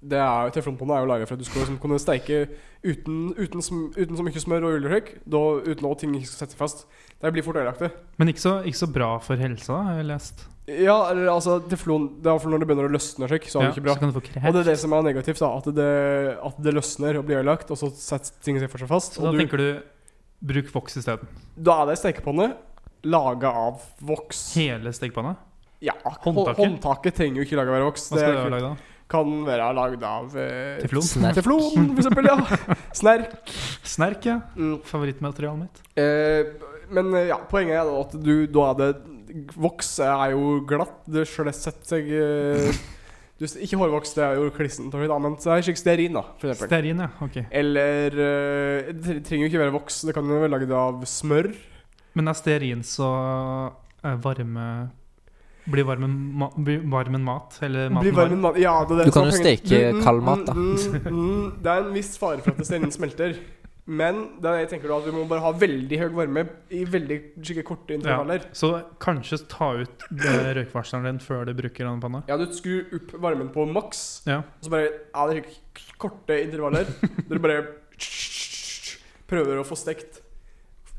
[SPEAKER 1] Det er jo, Teflonpanne er jo laga for at du skal liksom kunne steike uten, uten, sm, uten så mye smør og ullrøyk. da- Uten at ting ikke skal sette seg fast. De blir fort ødelagte.
[SPEAKER 3] Men ikke så, ikke så bra for helsa, har jeg lest.
[SPEAKER 1] Ja, eller altså Teflon Det er for når det begynner å løsne og slik, så er det
[SPEAKER 3] Ja,
[SPEAKER 1] ikke bra.
[SPEAKER 3] Så kan du
[SPEAKER 1] Og
[SPEAKER 3] få
[SPEAKER 1] det
[SPEAKER 3] kreft.
[SPEAKER 1] er det som er negativt, da. At det, at det løsner og blir ødelagt, og så setter ting seg for seg fast.
[SPEAKER 3] Så da
[SPEAKER 1] Og du,
[SPEAKER 3] tenker du bruk voks isteden.
[SPEAKER 1] da er det steikepanne laga av voks.
[SPEAKER 3] Hele stekepanna?
[SPEAKER 1] Ja, håndtaket.
[SPEAKER 3] Håndtaket?
[SPEAKER 1] håndtaket trenger jo ikke lage av voks.
[SPEAKER 3] Hva
[SPEAKER 1] Det
[SPEAKER 3] skal det være
[SPEAKER 1] kun-
[SPEAKER 3] lagd av?
[SPEAKER 1] kan være lagd av eh,
[SPEAKER 3] Teflon?
[SPEAKER 2] Snerk.
[SPEAKER 1] Teflon, for eksempel. Ja. Snerk.
[SPEAKER 3] Snerk, ja.
[SPEAKER 1] Mm.
[SPEAKER 3] Favorittmaterialet mitt.
[SPEAKER 1] Eh, men eh, ja, poenget er da at du da er det Voks er jo glatt. Det sl- setter seg eh, du, s- Ikke hårvoks, det er jo klissent, og litt annet. Så det er slik stearin, da, for eksempel.
[SPEAKER 3] Stearin, ja. Ok.
[SPEAKER 1] Eller eh, Det trenger jo ikke være voks. Det kan jo være laget av smør.
[SPEAKER 3] Men er stearin så eh, varme Blir varmen, ma blir varmen mat? Eller maten
[SPEAKER 1] Blir varm en mann- Ja, det er det
[SPEAKER 2] Du
[SPEAKER 1] som
[SPEAKER 2] kan
[SPEAKER 1] er
[SPEAKER 2] jo
[SPEAKER 1] poenget.
[SPEAKER 2] steke
[SPEAKER 1] Du-
[SPEAKER 2] kald mat, da.
[SPEAKER 1] mm, mm, mm, det er en viss fare for at steinen smelter. Men da jeg tenker du at vi må bare ha veldig høy varme i veldig skikkelig korte intervaller.
[SPEAKER 3] Ja. Så kanskje ta ut det røykvarsleren din før du bruker den panna?
[SPEAKER 1] Ja, du skrur opp varmen på maks,
[SPEAKER 3] Ja.
[SPEAKER 1] og så bare Ja, det er ikke korte intervaller. Dere bare prøver å få stekt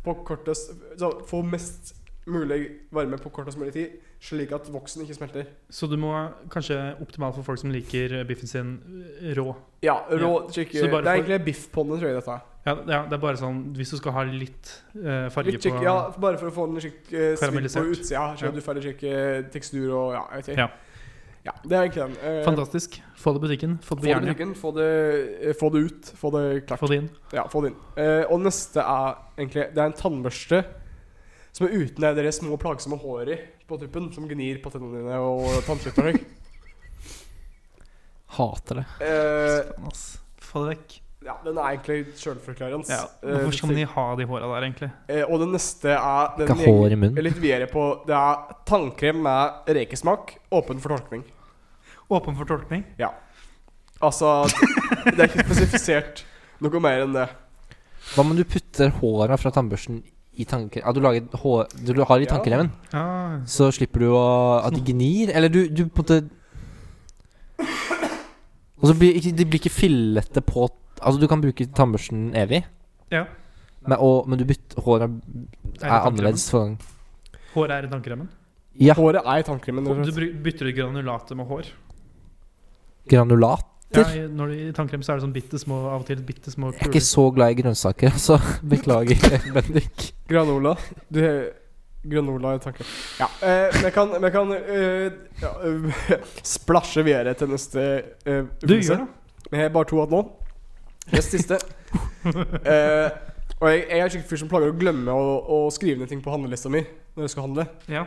[SPEAKER 1] på kortest så Få mest mulig varme på kortest mulig tid, slik at voksen ikke smelter.
[SPEAKER 3] Så du må kanskje optimalt for folk som liker biffen sin rå.
[SPEAKER 1] Ja, rå skikkelig
[SPEAKER 3] Så
[SPEAKER 1] Det
[SPEAKER 3] bare
[SPEAKER 1] er
[SPEAKER 3] for-
[SPEAKER 1] egentlig biffponne, tror jeg dette er.
[SPEAKER 3] Ja, ja, det er bare sånn hvis du skal ha litt eh, farge
[SPEAKER 1] Litt skikkelig,
[SPEAKER 3] på
[SPEAKER 1] ja, bare for å få den skikkelig svidd på
[SPEAKER 3] Karamellisert.
[SPEAKER 1] utsida, så
[SPEAKER 3] Ja.
[SPEAKER 1] du får skikkelig tekstur og ja, jeg vet ikke.
[SPEAKER 3] Ja.
[SPEAKER 1] Ja, det er egentlig den. Eh,
[SPEAKER 3] Fantastisk. Få det i butikken.
[SPEAKER 1] Få det
[SPEAKER 3] Få det på
[SPEAKER 1] i
[SPEAKER 3] hjernen.
[SPEAKER 1] butikken, få det, eh, få det ut, få det klart.
[SPEAKER 3] Få det inn.
[SPEAKER 1] Ja, få det inn. Eh, og neste er egentlig Det er en tannbørste som er uten det der små plagsomme håret i på tuppen, som gnir på tennene dine og tannkjøttet.
[SPEAKER 2] Hater det.
[SPEAKER 1] Eh,
[SPEAKER 3] Faen, ass. Få det vekk.
[SPEAKER 1] ja, den er egentlig sjølforklarende.
[SPEAKER 3] Ja. Hvorfor skal man ha de håra der, egentlig?
[SPEAKER 1] Eh, og den neste er den
[SPEAKER 2] Ikke ha hår i munnen.
[SPEAKER 1] jeg er litt videre på. Det er tannkrem med rekesmak, åpen for tolkning.
[SPEAKER 3] Åpen for tolkning.
[SPEAKER 1] Altså, det er ikke spesifisert noe mer enn det.
[SPEAKER 2] Hva om du putter håra fra tannbørsten i tannkremen Ja, du, lager hår, du har i
[SPEAKER 1] Ja.
[SPEAKER 2] tannkremen,
[SPEAKER 3] Ja.
[SPEAKER 2] så slipper du å, at de gnir. Eller du, du på en måte Og så blir ikke- de blir ikke fillete på Altså, du kan bruke tannbørsten evig,
[SPEAKER 3] ja.
[SPEAKER 2] men, og, men du bytter håra er
[SPEAKER 3] tannkremen?
[SPEAKER 2] annerledes for gang.
[SPEAKER 3] Håret er i tannkremen.
[SPEAKER 2] Ja,
[SPEAKER 1] Håret er i tannkremen. rett og
[SPEAKER 3] Du
[SPEAKER 1] slett.
[SPEAKER 3] bry- bytter ut granulatet med hår.
[SPEAKER 2] granulat.
[SPEAKER 3] Ja,
[SPEAKER 2] Bitter.
[SPEAKER 3] i- når du, I tannkrem så er det sånn bitte små, av og til bitte små
[SPEAKER 2] Jeg er ikke
[SPEAKER 3] kuler.
[SPEAKER 2] så glad i grønnsaker, så beklager, Bendik.
[SPEAKER 1] Granola. Du, granola i tanken. Ja. eh, Men jeg kan, men jeg kan eh, ja, eh, splasje videre til neste eh,
[SPEAKER 3] Du
[SPEAKER 1] øvelse.
[SPEAKER 3] gjør det.
[SPEAKER 1] Men jeg har bare to igjen nå. Det siste. Eh, og jeg, jeg er skikkelig fyr som plager å glemme å, å skrive ned ting på handlelista mi når jeg skal handle.
[SPEAKER 3] Ja.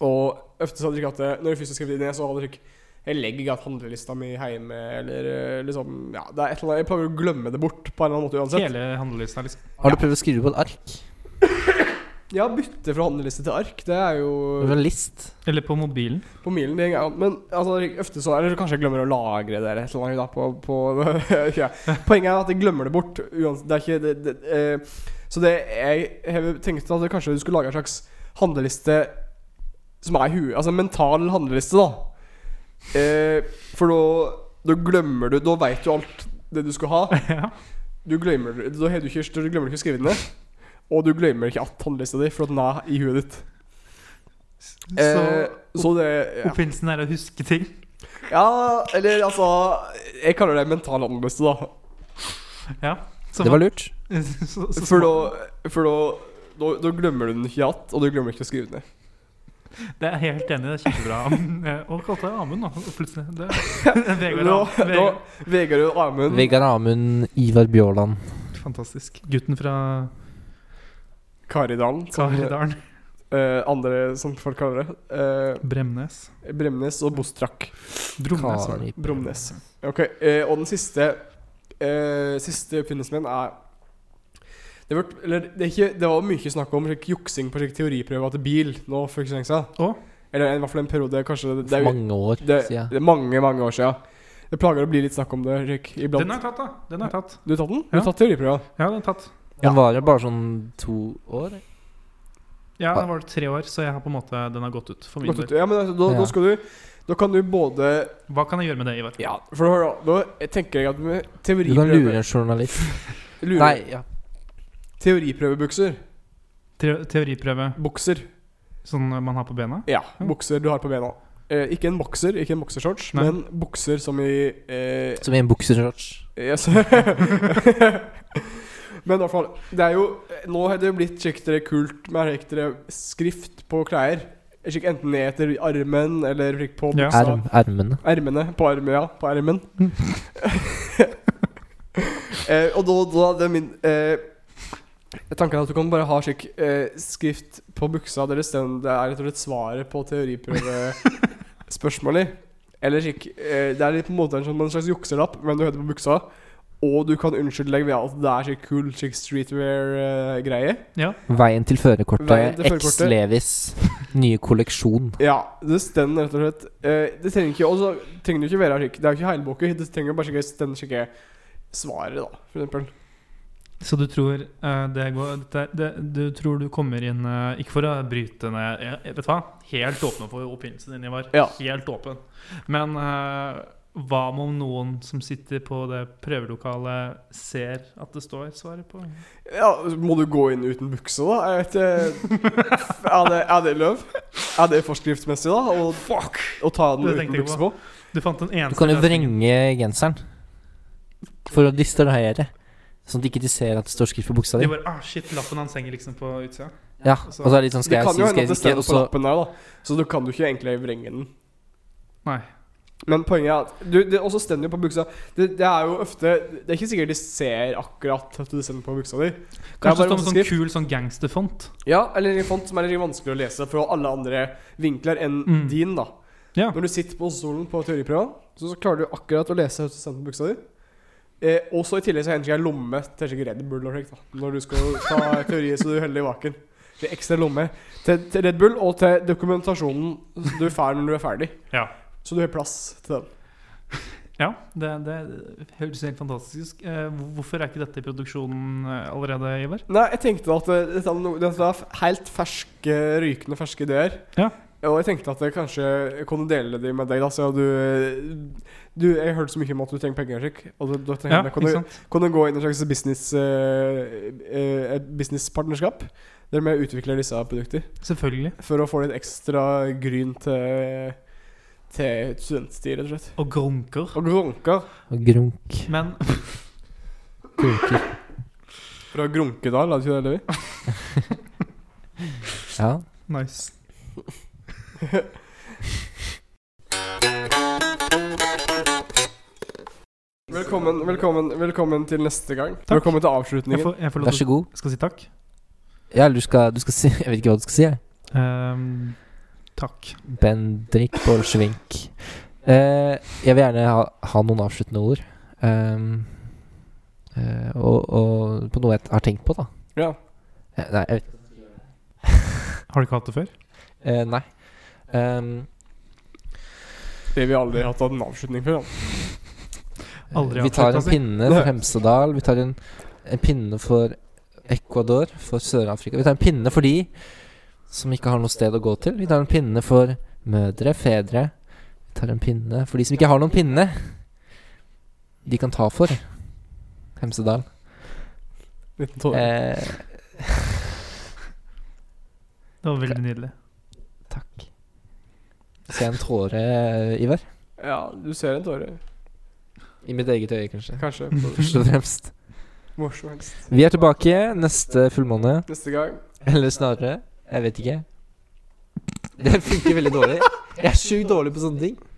[SPEAKER 1] Og ofte så hadde jeg ikke hatt det Når jeg først har skrevet det ned, så hadde jeg ikke Jeg legger ikke hatt handlelista mi hjemme, eller eh, liksom Ja, det er et eller annet Jeg plager å glemme det bort på en eller annen måte uansett.
[SPEAKER 3] Hele handlelisten er liksom
[SPEAKER 2] Har du prøvd å skrive det på et ark?
[SPEAKER 1] Ja, bytte fra handleliste til ark, det er jo
[SPEAKER 2] Eller en list?
[SPEAKER 3] Eller på mobilen.
[SPEAKER 1] på milen. Det er gøy, men altså, ofte så Eller kanskje jeg glemmer å lagre det eller et eller annet da, på, på ja. Poenget er at jeg glemmer det bort. Uansett, det er ikke det, det, eh, Så det jeg har tenkt at kanskje du skulle lage en slags handleliste som er i huet Altså en mental handleliste, da. Eh, for da, da glemmer du Da veit du alt det du skal ha.
[SPEAKER 3] ja.
[SPEAKER 1] Du glemmer, da har du ikke, du glemmer ikke å skrive den ned. Og du glemmer ikke at handlelista di, for at den er i huet ditt. Eh,
[SPEAKER 3] Så
[SPEAKER 1] så det ja.
[SPEAKER 3] oppfinnelsen er å huske ting.
[SPEAKER 1] Ja, eller altså Jeg kaller det mental analyse, da.
[SPEAKER 3] Ja. Så,
[SPEAKER 2] Det var lurt.
[SPEAKER 3] så, så,
[SPEAKER 1] For da, for da, da, da glemmer du den ikke igjen, og du glemmer ikke å skrive den ned.
[SPEAKER 3] Det er jeg helt enig, i, det er kjempebra. Og kalte jeg Amund, da. Plutselig. Det, Vegard,
[SPEAKER 1] Da,
[SPEAKER 3] Am-
[SPEAKER 1] da
[SPEAKER 3] Vegard.
[SPEAKER 1] Vegard og Amund
[SPEAKER 2] Vegard Amund, Ivar Bjørland.
[SPEAKER 3] Fantastisk. Gutten fra
[SPEAKER 1] Karidalen, som
[SPEAKER 3] Karidalen.
[SPEAKER 1] eh, andre som folk kaller det. eh,
[SPEAKER 3] Bremnes.
[SPEAKER 1] Bremnes og Bostrak.
[SPEAKER 3] Bromnes. var det.
[SPEAKER 2] Kari
[SPEAKER 1] Bromnes. Ok, eh, Og den siste eh, Siste oppfinnelsen min er det, ble, eller, det, er ikke, det var mye snakk om slik, juksing på slik, teoriprøver til bil nå for ikke så lenge siden.
[SPEAKER 3] Å?
[SPEAKER 1] Eller i hvert fall en periode. kanskje det, det er,
[SPEAKER 2] For mange år
[SPEAKER 1] Det,
[SPEAKER 2] siden.
[SPEAKER 1] det er mange, mange år siden. Det plager å bli litt snakk om det. Rick, iblant.
[SPEAKER 3] Den er tatt, da. Den er tatt.
[SPEAKER 1] Du har tatt den? Du
[SPEAKER 3] Ja.
[SPEAKER 1] har tatt teoriprøva?
[SPEAKER 3] Ja, den er tatt.
[SPEAKER 2] Den varer bare sånn to år.
[SPEAKER 3] Ja, den var tre år, så jeg har på en måte, den har gått ut for min
[SPEAKER 1] Godt ut.
[SPEAKER 3] del.
[SPEAKER 1] Ja, men altså, da,
[SPEAKER 2] Ja.
[SPEAKER 1] da skal du Da kan du både
[SPEAKER 3] Hva kan jeg gjøre med det, Ivar?
[SPEAKER 1] Ja, for da, da tenker jeg at med
[SPEAKER 2] Du kan
[SPEAKER 1] teoriprøve
[SPEAKER 2] lure en journalist.
[SPEAKER 1] lure-
[SPEAKER 2] Nei, ja.
[SPEAKER 1] Teoriprøvebukser.
[SPEAKER 3] Tre- Teoriprøve,
[SPEAKER 1] Bukser.
[SPEAKER 3] sånn man har på bena?
[SPEAKER 1] Ja, bukser du har på bena. Eh, ikke en bokser, ikke en boksershorts,
[SPEAKER 3] Nei.
[SPEAKER 1] men bukser som i eh,
[SPEAKER 2] Som i en bukseshorts.
[SPEAKER 1] Yes. Men i hvert fall, det er jo Nå har det jo blitt kjekkere kult med kjekkere skrift på klær. Kjekk Enten ned etter armen eller kjekk på
[SPEAKER 3] Ja.
[SPEAKER 1] buksa.
[SPEAKER 2] Erm, ermene.
[SPEAKER 1] Ermene. På armen, ja. På ermen. eh, og da, da det er min eh, Tanken er at du kan bare ha slik eh, skrift på buksa deres den det er rett og slett svaret på teoriprøvespørsmålet. Eller slik eh, Det er litt på en måte en, sånn, en slags jukselapp, men du heter på buksa. Og du kan unnskylde deg ved at det er slik cool slik eh, streetwear-greie.
[SPEAKER 3] Ja.
[SPEAKER 2] Veien til
[SPEAKER 1] Veien
[SPEAKER 2] førerkortet.
[SPEAKER 1] til førerkortet.
[SPEAKER 2] X-Levis nye kolleksjon.
[SPEAKER 1] ja, det stender rett og slett eh, Det trenger ikke Og så trenger det ikke være slik Det er jo ikke heilbåker. Det trenger bare slik den sjekke svaret, da, for eksempel.
[SPEAKER 3] Så du tror eh, det går dette, det, Du tror du kommer inn eh, Ikke for å bryte ned jeg, jeg Vet du hva? Helt åpen for oppfinnelsen din, Ivar.
[SPEAKER 1] Ja.
[SPEAKER 3] Helt åpen. Men eh, hva om noen som sitter på det prøvelokalet, ser at det står svaret på?
[SPEAKER 1] Ja, Må du gå inn uten bukse, da? Jeg vet ikke. Er det, er det løv? Er det forskriftsmessig, da? Å
[SPEAKER 3] Fuck!
[SPEAKER 1] å ta den
[SPEAKER 3] Det
[SPEAKER 1] uten
[SPEAKER 3] tenkte jeg
[SPEAKER 1] bukse på?
[SPEAKER 3] Du fant den
[SPEAKER 2] Du
[SPEAKER 3] eneste
[SPEAKER 2] kan jo
[SPEAKER 3] løsningen.
[SPEAKER 2] vrenge genseren for å distrahere. Sånn at ikke de ser at det står skrift på buksa di.
[SPEAKER 3] De bare, ah shit, lappen hans henger liksom på utsida.
[SPEAKER 2] Ja, og så er det litt sånn
[SPEAKER 1] Det
[SPEAKER 2] Skal jeg
[SPEAKER 1] kan
[SPEAKER 2] si,
[SPEAKER 1] jo hende at
[SPEAKER 2] skal jeg
[SPEAKER 1] det
[SPEAKER 2] ikke?
[SPEAKER 1] står på
[SPEAKER 2] Og så
[SPEAKER 1] lappen der, da. Så du kan jo ikke egentlig vrenge den.
[SPEAKER 3] Nei.
[SPEAKER 1] Men poenget er at du, det også stender jo på buksa. Det, det er jo ofte Det er ikke sikkert de ser akkurat at det stender på buksa di. Det er
[SPEAKER 3] Kanskje det
[SPEAKER 1] bare
[SPEAKER 3] står med
[SPEAKER 1] masse
[SPEAKER 3] sånn
[SPEAKER 1] skrift.
[SPEAKER 3] kul sånn gangsterfont.
[SPEAKER 1] Ja, eller en font som er litt vanskelig å lese fra alle andre vinkler enn
[SPEAKER 3] Mm.
[SPEAKER 1] din, da.
[SPEAKER 3] Ja.
[SPEAKER 1] Når du sitter på stolen på teoriprøven, så, så klarer du akkurat å lese høyt på buksa di. Eh, og så i tillegg så henter jeg lomme til slik Red Bull og slikt, da. Når du skal ta teori, så du holder i vaken. Det er ekstra lomme til, til Red Bull og til dokumentasjonen du får når du er ferdig.
[SPEAKER 3] Ja.
[SPEAKER 1] Så du har plass til den.
[SPEAKER 3] Ja, det, det høres helt fantastisk ut. Eh, hvor- hvorfor er ikke dette i produksjonen eh, allerede, Ivar?
[SPEAKER 1] Nei, jeg tenkte at eh, dette er, no, dette er f- helt ferske, rykende ferske ideer.
[SPEAKER 3] Ja.
[SPEAKER 1] Og jeg tenkte at jeg kanskje kunne dele de med deg, da, så du, eh, du Jeg hørte så mye om at du trenger penger, Henrik, og da- da tenkte jeg, kan,
[SPEAKER 3] ikke
[SPEAKER 1] du,
[SPEAKER 3] sant?
[SPEAKER 1] kan du gå inn i en slags business eh, eh, businesspartnerskap? Der vi utvikler disse produkter
[SPEAKER 3] Selvfølgelig.
[SPEAKER 1] for å få litt ekstra gryn til, til studentstid, rett og slett.
[SPEAKER 3] Og grunker.
[SPEAKER 1] Og grunker.
[SPEAKER 2] og grunk.
[SPEAKER 3] Men
[SPEAKER 2] Grunker.
[SPEAKER 1] Fra Grunkedal, hadde ikke det, Levi?
[SPEAKER 2] Ja.
[SPEAKER 3] nice.
[SPEAKER 1] Velkommen, velkommen, velkommen til neste gang.
[SPEAKER 3] Takk.
[SPEAKER 1] Velkommen til
[SPEAKER 3] Jeg
[SPEAKER 1] avslutningen.
[SPEAKER 3] får, jeg får lov
[SPEAKER 2] Vær så
[SPEAKER 3] til
[SPEAKER 2] god.
[SPEAKER 3] å skal si takk.
[SPEAKER 2] Ja, eller du skal, du skal si Jeg vet ikke hva du skal si. jeg.
[SPEAKER 3] Ehm, takk.
[SPEAKER 2] Bendrik Bolsjevink. Eh, jeg vil gjerne ha, ha noen avsluttende ord. Ehm, eh, og, og på noe jeg har tenkt på, da.
[SPEAKER 1] Ja.
[SPEAKER 2] Eh, Nei, jeg vet ikke.
[SPEAKER 3] Har du ikke hatt det før?
[SPEAKER 2] Eh, nei. Ehm,
[SPEAKER 1] Det vi aldri har hatt en avslutning før. da.
[SPEAKER 3] Aldri
[SPEAKER 2] eh, vi tar
[SPEAKER 3] avsluttet,
[SPEAKER 2] en
[SPEAKER 3] altså. si.
[SPEAKER 2] pinne for Hemsedal. Vi tar en, en pinne for Ecuador, for Sør-Afrika. Vi tar en pinne for de som ikke har noe sted å gå til. Vi tar en pinne for mødre, fedre. Vi tar en pinne for de som ikke har noen pinne de kan ta for. Hemsedal.
[SPEAKER 1] Liten tåre.
[SPEAKER 2] Eh,
[SPEAKER 3] Det var veldig nydelig.
[SPEAKER 2] takk. Se en tåre, Ivar.
[SPEAKER 1] Ja, du ser en tåre.
[SPEAKER 2] I mitt eget øye, kanskje.
[SPEAKER 1] Kanskje.
[SPEAKER 2] Først og fremst.
[SPEAKER 1] Hvor som helst.
[SPEAKER 2] Vi er tilbake neste fullmåne.
[SPEAKER 1] Neste gang.
[SPEAKER 2] Eller snarere. Jeg vet ikke. Det funker veldig dårlig. Jeg er sjukt dårlig på sånne ting.